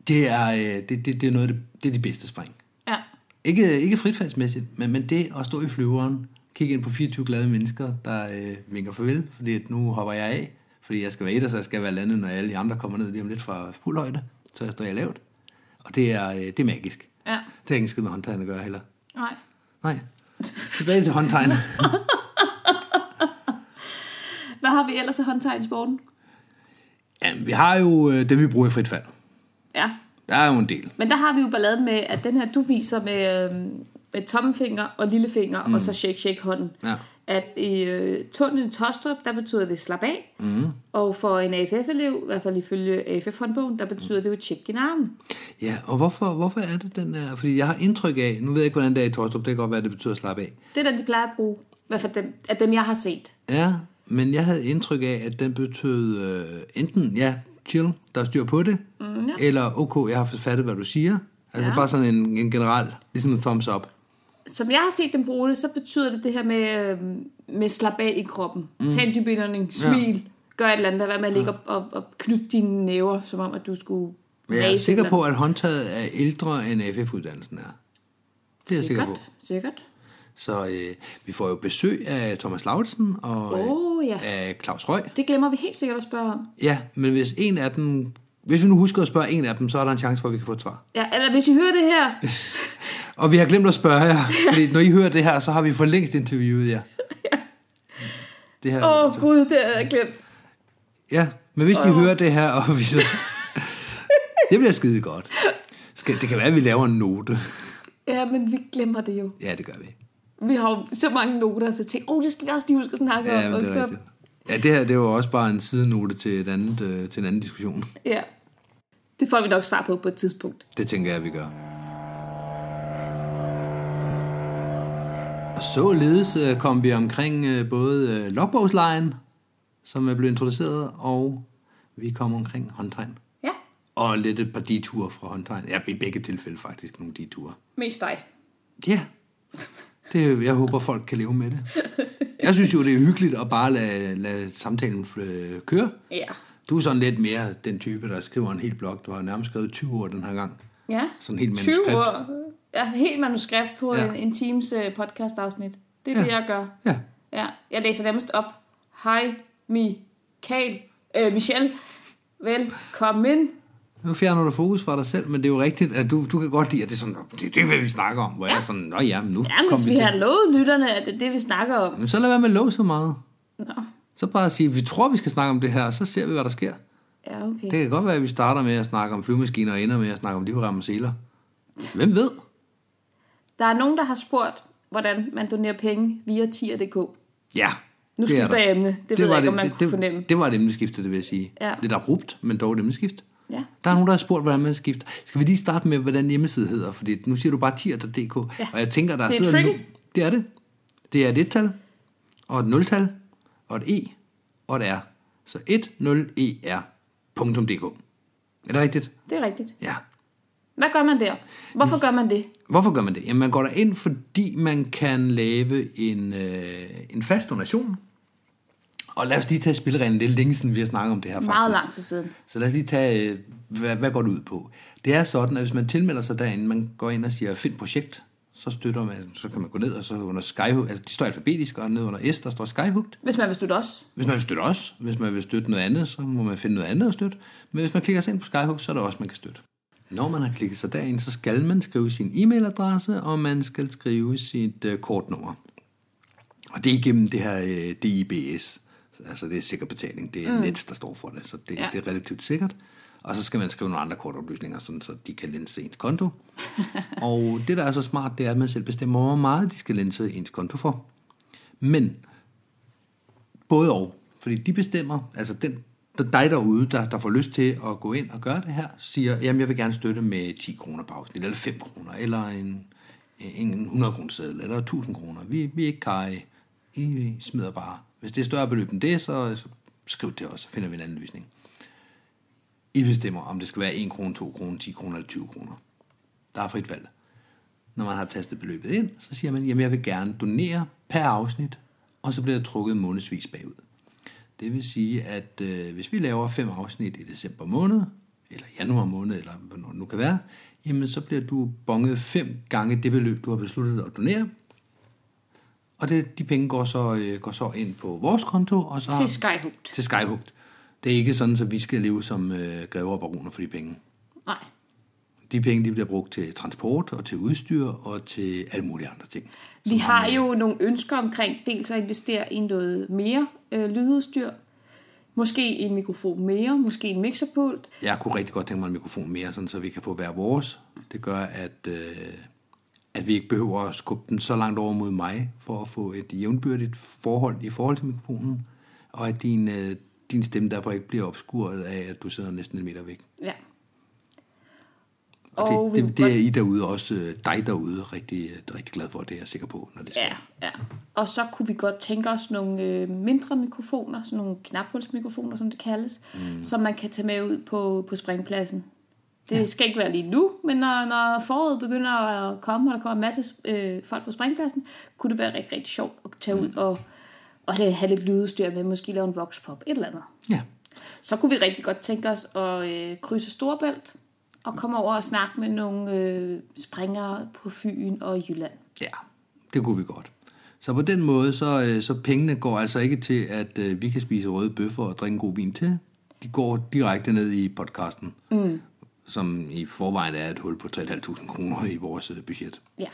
Speaker 2: det, er, øh, det, det, det, er noget, af det, det er de bedste spring.
Speaker 4: Ja.
Speaker 2: Ikke, ikke fritfaldsmæssigt, men, men det at stå i flyveren, kigge ind på 24 glade mennesker, der øh, vinker farvel, fordi at nu hopper jeg af, fordi jeg skal være et, og så skal jeg være landet, når alle de andre kommer ned lige om lidt fra fuld højde, så jeg står jeg lavt. Og det er, øh, det er magisk.
Speaker 4: Ja.
Speaker 2: Det har ikke en skid med håndtegn at gøre heller.
Speaker 4: Nej.
Speaker 2: Nej. Tilbage til håndtegn.
Speaker 4: Hvad har vi ellers af håndtegn i sporten?
Speaker 2: Jamen, vi har jo øh, dem, vi bruger i fritfald.
Speaker 4: Ja.
Speaker 2: Der er jo en del.
Speaker 4: Men der har vi jo balladen med, at den her, du viser med, øhm, med tommelfinger og lillefinger, mm. og så shake, shake hånden.
Speaker 2: Ja.
Speaker 4: At i øh, tunnelen i Tostrup, der betyder det slap af. Mm. Og for en AFF-elev, i hvert fald ifølge AFF-håndbogen, der betyder det jo tjek din arm.
Speaker 2: Ja, og hvorfor, hvorfor er det den er? Fordi jeg har indtryk af, nu ved jeg ikke, hvordan det er i Torstrup, det kan godt være, det betyder at slappe af.
Speaker 4: Det er den, de plejer at bruge. I hvert fald dem, af dem, jeg har set.
Speaker 2: Ja, men jeg havde indtryk af, at den betød øh, enten, ja, chill, der er styr på det, mm, ja. eller okay, jeg har fattet, hvad du siger. Altså ja. bare sådan en, en generel, ligesom en thumbs up.
Speaker 4: Som jeg har set dem bruge det, så betyder det det her med, øhm, med slap af i kroppen. Mm. Tag en dyb indånding, smil, ja. gør et eller andet, der hvad med at ligge og, og, og knytte dine næver, som om, at du skulle...
Speaker 2: Men jeg er
Speaker 4: ræse
Speaker 2: sikker
Speaker 4: eller-
Speaker 2: på, at håndtaget er ældre, end AFF-uddannelsen er. Det er jeg sikker på.
Speaker 4: Sikkert, sikkert.
Speaker 2: Så øh, vi får jo besøg af Thomas Lauritsen og øh,
Speaker 4: Åh, ja.
Speaker 2: af Claus Røg.
Speaker 4: Det glemmer vi helt sikkert at spørge om.
Speaker 2: Ja, men hvis en af dem, hvis vi nu husker at spørge en af dem, så er der en chance for, at vi kan få et svar.
Speaker 4: Ja, eller hvis I hører det her,
Speaker 2: Og vi har glemt at spørge jer, fordi når I hører det her, så har vi for længst interviewet jer. Det her,
Speaker 4: åh oh, gud, det havde jeg glemt.
Speaker 2: Ja, men hvis de hører det her, og vi så... det bliver skide godt. Skal, det kan være, at vi laver en note.
Speaker 4: Ja, men vi glemmer det jo.
Speaker 2: Ja, det gør vi.
Speaker 4: Vi har jo så mange noter til ting. Åh, oh, det skal vi også lige huske at snakke
Speaker 2: Ja,
Speaker 4: om.
Speaker 2: men
Speaker 4: og
Speaker 2: det
Speaker 4: så,
Speaker 2: er rigtigt. Ja, det her det var også bare en sidenote til, et andet, øh, til en anden diskussion.
Speaker 4: Ja, det får vi nok svar på på et tidspunkt.
Speaker 2: Det tænker jeg, vi gør. Og således øh, kom vi omkring øh, både øh, logbogslejen, som er blevet introduceret, og vi kom omkring håndtegn.
Speaker 4: Ja,
Speaker 2: Og lidt et par deture fra håndtegn. Ja, i begge tilfælde faktisk nogle deture.
Speaker 4: mest dig.
Speaker 2: Ja, det, jeg håber, folk kan leve med det. Jeg synes jo, det er hyggeligt at bare lade, lade samtalen øh, køre.
Speaker 4: Ja.
Speaker 2: Du er sådan lidt mere den type, der skriver en hel blog. Du har nærmest skrevet 20 år den her gang.
Speaker 4: Ja,
Speaker 2: Sådan helt
Speaker 4: 20
Speaker 2: manuskript.
Speaker 4: år. Ja, helt manuskript på
Speaker 2: Ja.
Speaker 4: ja. en, en times øh, podcast-afsnit. Det er
Speaker 2: Ja.
Speaker 4: ja. det, jeg gør.
Speaker 2: Ja,
Speaker 4: Ja, jeg læser nærmest op. Hej, Michael. Øh, Michelle. Velkommen.
Speaker 2: nu fjerner du fokus fra dig selv, men det er jo rigtigt, at du, du kan godt lide, at det er sådan, det, det er, hvad vi snakker om. Hvor jeg er sådan, nå ja, men nu
Speaker 4: Jamen,
Speaker 2: kom
Speaker 4: hvis
Speaker 2: vi,
Speaker 4: vi
Speaker 2: til.
Speaker 4: har lovet lytterne, at det er det, vi snakker om.
Speaker 2: Jamen, så lad være med at love så meget.
Speaker 4: Nå.
Speaker 2: Så bare sige, vi tror, vi skal snakke om det her, og så ser vi, hvad der sker.
Speaker 4: Ja, okay.
Speaker 2: Det kan godt være, at vi starter med at snakke om flyvemaskiner og ender med at snakke om livrem og seler. Hvem ved?
Speaker 4: Der er nogen, der har spurgt, hvordan man donerer penge via tier.dk.
Speaker 2: Ja, det er
Speaker 4: Nu skifter
Speaker 2: der.
Speaker 4: jeg emne. Det, det ved jeg ikke, om man det, kunne fornemme.
Speaker 2: Det, det var et emneskift, det vil jeg sige.
Speaker 4: Ja.
Speaker 2: Lidt abrupt, men dog et emneskift.
Speaker 4: Ja.
Speaker 2: Der er nogen, der har spurgt, hvordan man skifter. Skal vi lige starte med, hvordan hjemmesiden hedder? Fordi nu siger du bare tier.dk,
Speaker 4: Ja.
Speaker 2: og jeg tænker, der
Speaker 4: Det er
Speaker 2: sidder nu...
Speaker 4: tricky.
Speaker 2: Det er det. Det er et et-tal, og et nul-tal, og et e, og et E r. Så 10er.dk. Er det rigtigt?
Speaker 4: Det er rigtigt.
Speaker 2: Ja.
Speaker 4: Hvad gør man der?
Speaker 2: Mm.
Speaker 4: Hvorfor gør man det?
Speaker 2: Hvorfor gør man det? Jamen, man går ind, fordi man kan lave en, øh, en fast donation. Og lad os lige tage spillereglerne. Det er længe siden, vi har snakket om det her, faktisk.
Speaker 4: Meget lang tid siden.
Speaker 2: Så lad os lige tage, øh, hvad, hvad går det ud på? Det er sådan, at hvis man tilmelder sig derinde, man går ind og siger, find projekt, så støtter man, så kan man gå ned, og så under Skyhook, altså de står alfabetisk, og ned under S, der står Skyhook.
Speaker 4: Hvis man vil støtte os.
Speaker 2: Hvis man vil støtte os, hvis man vil støtte noget andet, så må man finde noget andet at støtte. Men hvis man klikker sig ind på Skyhook, så er der også, man kan støtte. Når man har klikket sig derind, så skal man skrive sin e-mailadresse, og man skal skrive sit øh, kortnummer. Og det er igennem det her øh, DIBS. Altså det er sikker betaling. Det er mm. Nets, der står for det, så det, ja.
Speaker 4: Ja.
Speaker 2: det er relativt sikkert. Og så skal man skrive nogle andre kortoplysninger, sådan, så de kan lense ens konto. og det, der er så smart, det er, at man selv bestemmer, hvor meget de skal lense ens konto for. Men både og. Fordi de bestemmer, altså den, der, dig derude, der, der får lyst til at gå ind og gøre det her, siger, jamen jeg vil gerne støtte med 10 kroner per afsnit, eller 5 kroner, eller en, en 100 kroner seddel, eller 1000 kroner. Vi, vi er ikke kaj. I smider bare. Hvis det er større beløb end det, så, så skriv det også, så finder vi en anden løsning. I bestemmer, om det skal være 1 krone, 2 kroner, 10 kroner eller 20 kroner. Der er frit valg. Når man har tastet beløbet ind, så siger man, jamen jeg vil gerne donere per afsnit, og så bliver der trukket månedsvis bagud. Det vil sige, at øh, hvis vi laver fem afsnit i december måned, eller januar måned, eller hvornår det nu kan være, jamen så bliver du bonget fem gange det beløb, du har besluttet at donere. Og det, de penge går så, øh, går så ind på vores konto, og så
Speaker 4: Til Skyhugt.
Speaker 2: til Skyhugt. Det er ikke sådan, at vi skal leve som øh, grever og baroner for de penge.
Speaker 4: Nej.
Speaker 2: De penge de bliver brugt til transport og til udstyr og til alle mulige andre ting.
Speaker 4: Vi har jo nogle ønsker omkring dels at investere i noget mere øh, lydudstyr. Måske en mikrofon mere, måske en mixerpult.
Speaker 2: Jeg kunne rigtig godt tænke mig en mikrofon mere, sådan, så vi kan få hver vores. Det gør, at, øh, at vi ikke behøver at skubbe den så langt over mod mig, for at få et jævnbyrdigt forhold i forhold til mikrofonen, og at din, øh, din stemme derfor ikke bliver opskuret af, at du sidder næsten en meter væk.
Speaker 4: Ja.
Speaker 2: Og,
Speaker 4: Og
Speaker 2: og
Speaker 4: vi
Speaker 2: det,
Speaker 4: kunne
Speaker 2: det, det er I derude, også øh, dig derude, rigtig, rigtig glad for, det er jeg sikker på, når det sker.
Speaker 4: Ja, ja. Og så kunne vi godt tænke os nogle øh, mindre mikrofoner, sådan nogle knaphulsmikrofoner, som det kaldes, mm. som man kan tage med ud på, på springpladsen. Det ja. skal ikke være lige nu, men når, når foråret begynder at komme, og der kommer en masse øh, folk på springpladsen, kunne det være rigtig, rigtig sjovt at tage ud og, og have have lidt lydudstyr med, måske lave en voxpop, et eller andet.
Speaker 2: Ja.
Speaker 4: Så kunne vi rigtig godt tænke os at øh, krydse Storebælt og komme over og snakke med nogle øh, springere på Fyn og i Jylland.
Speaker 2: Ja, det kunne vi godt. Så på den måde, så, øh, så pengene går altså ikke til, at øh, vi kan spise røde bøffer og drikke en god vin til. De går direkte ned i podcasten, mm. som i forvejen er et hul på 3.500 kroner i vores øh, budget.
Speaker 4: Ja,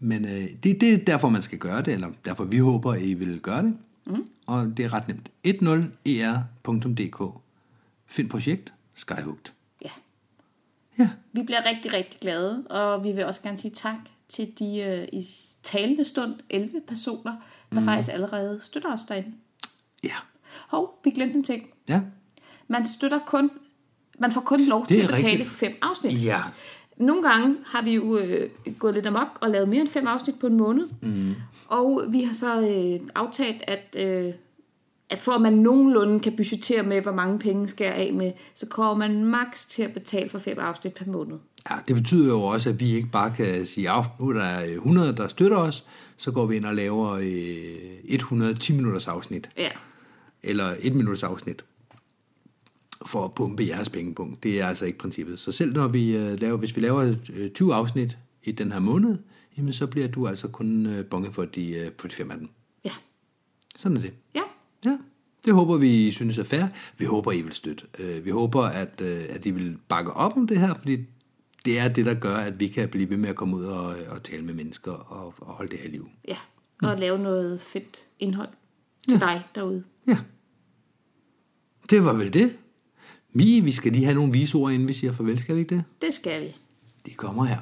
Speaker 2: Men øh, det, det er derfor, man skal gøre det, eller derfor vi håber, I vil gøre det. Mm. Og det er ret nemt. e 10er.dk Find projekt, skyhugt.
Speaker 4: ja.
Speaker 2: Ja,
Speaker 4: Vi bliver rigtig, rigtig glade, og vi vil også gerne sige tak til de øh, i talende stund 11 personer, der mm. faktisk allerede støtter os derinde.
Speaker 2: ja,
Speaker 4: Hov, vi glemte en ting.
Speaker 2: ja.
Speaker 4: Man støtter kun, man får kun lov
Speaker 2: Det
Speaker 4: til
Speaker 2: er
Speaker 4: at betale
Speaker 2: rigtigt.
Speaker 4: for fem afsnit.
Speaker 2: Ja,
Speaker 4: Nogle gange har vi jo øh, gået lidt amok og lavet mere end fem afsnit på en måned. Mm. Og vi har så øh, aftalt, at, øh, at for at man nogenlunde kan budgettere med, hvor mange penge skal jeg af med, så kommer man maks til at betale for fem afsnit per måned.
Speaker 2: Ja, det betyder jo også, at vi ikke bare kan sige, at nu er der øh, 100, der støtter os, så går vi ind og laver øh, 110 minutters afsnit,
Speaker 4: Ja.
Speaker 2: eller 1 minutters afsnit, for at pumpe jeres pengepunkt. Det er altså ikke princippet. Så selv når vi øh, laver, hvis vi laver øh, 20 afsnit i den her måned, jamen så bliver du altså kun øh, bonget for de, øh, for de fem af dem.
Speaker 4: Ja.
Speaker 2: Sådan er det.
Speaker 4: Ja.
Speaker 2: Ja, det håber vi I synes er fair. Vi håber, I vil støtte. Øh, Vi håber, at, øh, at I vil bakke op om det her, fordi det er det, der gør, at vi kan blive ved med at komme ud og, øh, og tale med mennesker og, og holde det her i liv.
Speaker 4: Ja. Og mm. lave noget fedt indhold
Speaker 5: Mm.
Speaker 4: til ja. dig derude.
Speaker 2: Ja. Det var vel det. Mie, vi skal lige have nogle visord, inden vi siger farvel, skal vi ikke det?
Speaker 4: Det skal vi.
Speaker 2: De kommer her.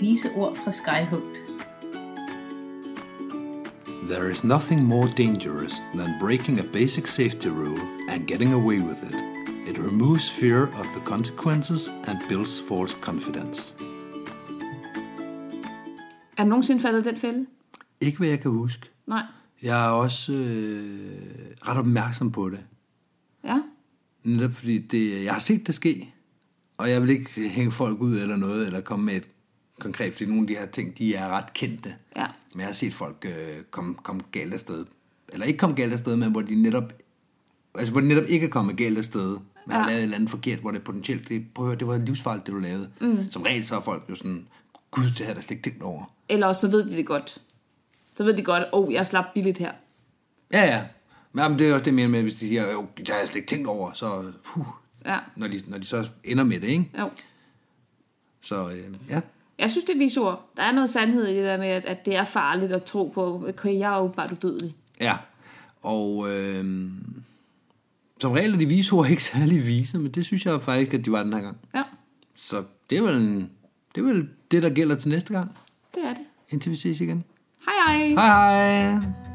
Speaker 5: Vise ord fra Skyhugt.
Speaker 2: There is nothing more dangerous than breaking a basic safety rule and getting away with it. It removes fear of the consequences and builds false confidence.
Speaker 4: Er du nogensinde faldet i den fælde?
Speaker 2: Ikke hvad jeg kan huske.
Speaker 4: Nej.
Speaker 2: Jeg er også øh, ret opmærksom på det.
Speaker 4: Ja.
Speaker 2: Netop fordi det, jeg har set det ske, og jeg vil ikke hænge folk ud eller noget, eller komme med et konkret, fordi nogle af de her ting, de er ret kendte.
Speaker 4: Ja.
Speaker 2: Men jeg har set folk øh, komme kom galt afsted. Eller ikke komme galt afsted, men hvor de netop, altså hvor de netop ikke er kommet galt afsted, men ja. har lavet et eller andet forkert, hvor det potentielt, det, prøv at høre, det var livsfarligt, det du lavede. Mm. Som regel så er folk jo sådan, gud, det har jeg da slet ikke tænkt over.
Speaker 4: Eller også så ved de det godt. Så ved de godt, åh, oh, jeg slap billigt her.
Speaker 2: Ja, ja. Men jamen, det er også det, jeg mener med, hvis de siger, jo, det har jeg slet ikke tænkt over, så puh,
Speaker 4: Ja.
Speaker 2: når, de, når de så ender med det, ikke?
Speaker 4: Jo.
Speaker 2: Så øh, ja,
Speaker 4: Jeg synes, det er visord. Der er noget sandhed i det der med, at, at det er farligt at tro på, okay, jeg er jo bare udødelig.
Speaker 2: ja. Og øh, som regel er de vise ord ikke særlig vise, men det synes jeg faktisk, at de var den her gang.
Speaker 3: Ja,
Speaker 2: Så det er vel, en, det, er vel det, der gælder til næste gang,
Speaker 3: det er det.
Speaker 2: indtil vi ses igen.
Speaker 3: Hej hej!
Speaker 2: Hej hej!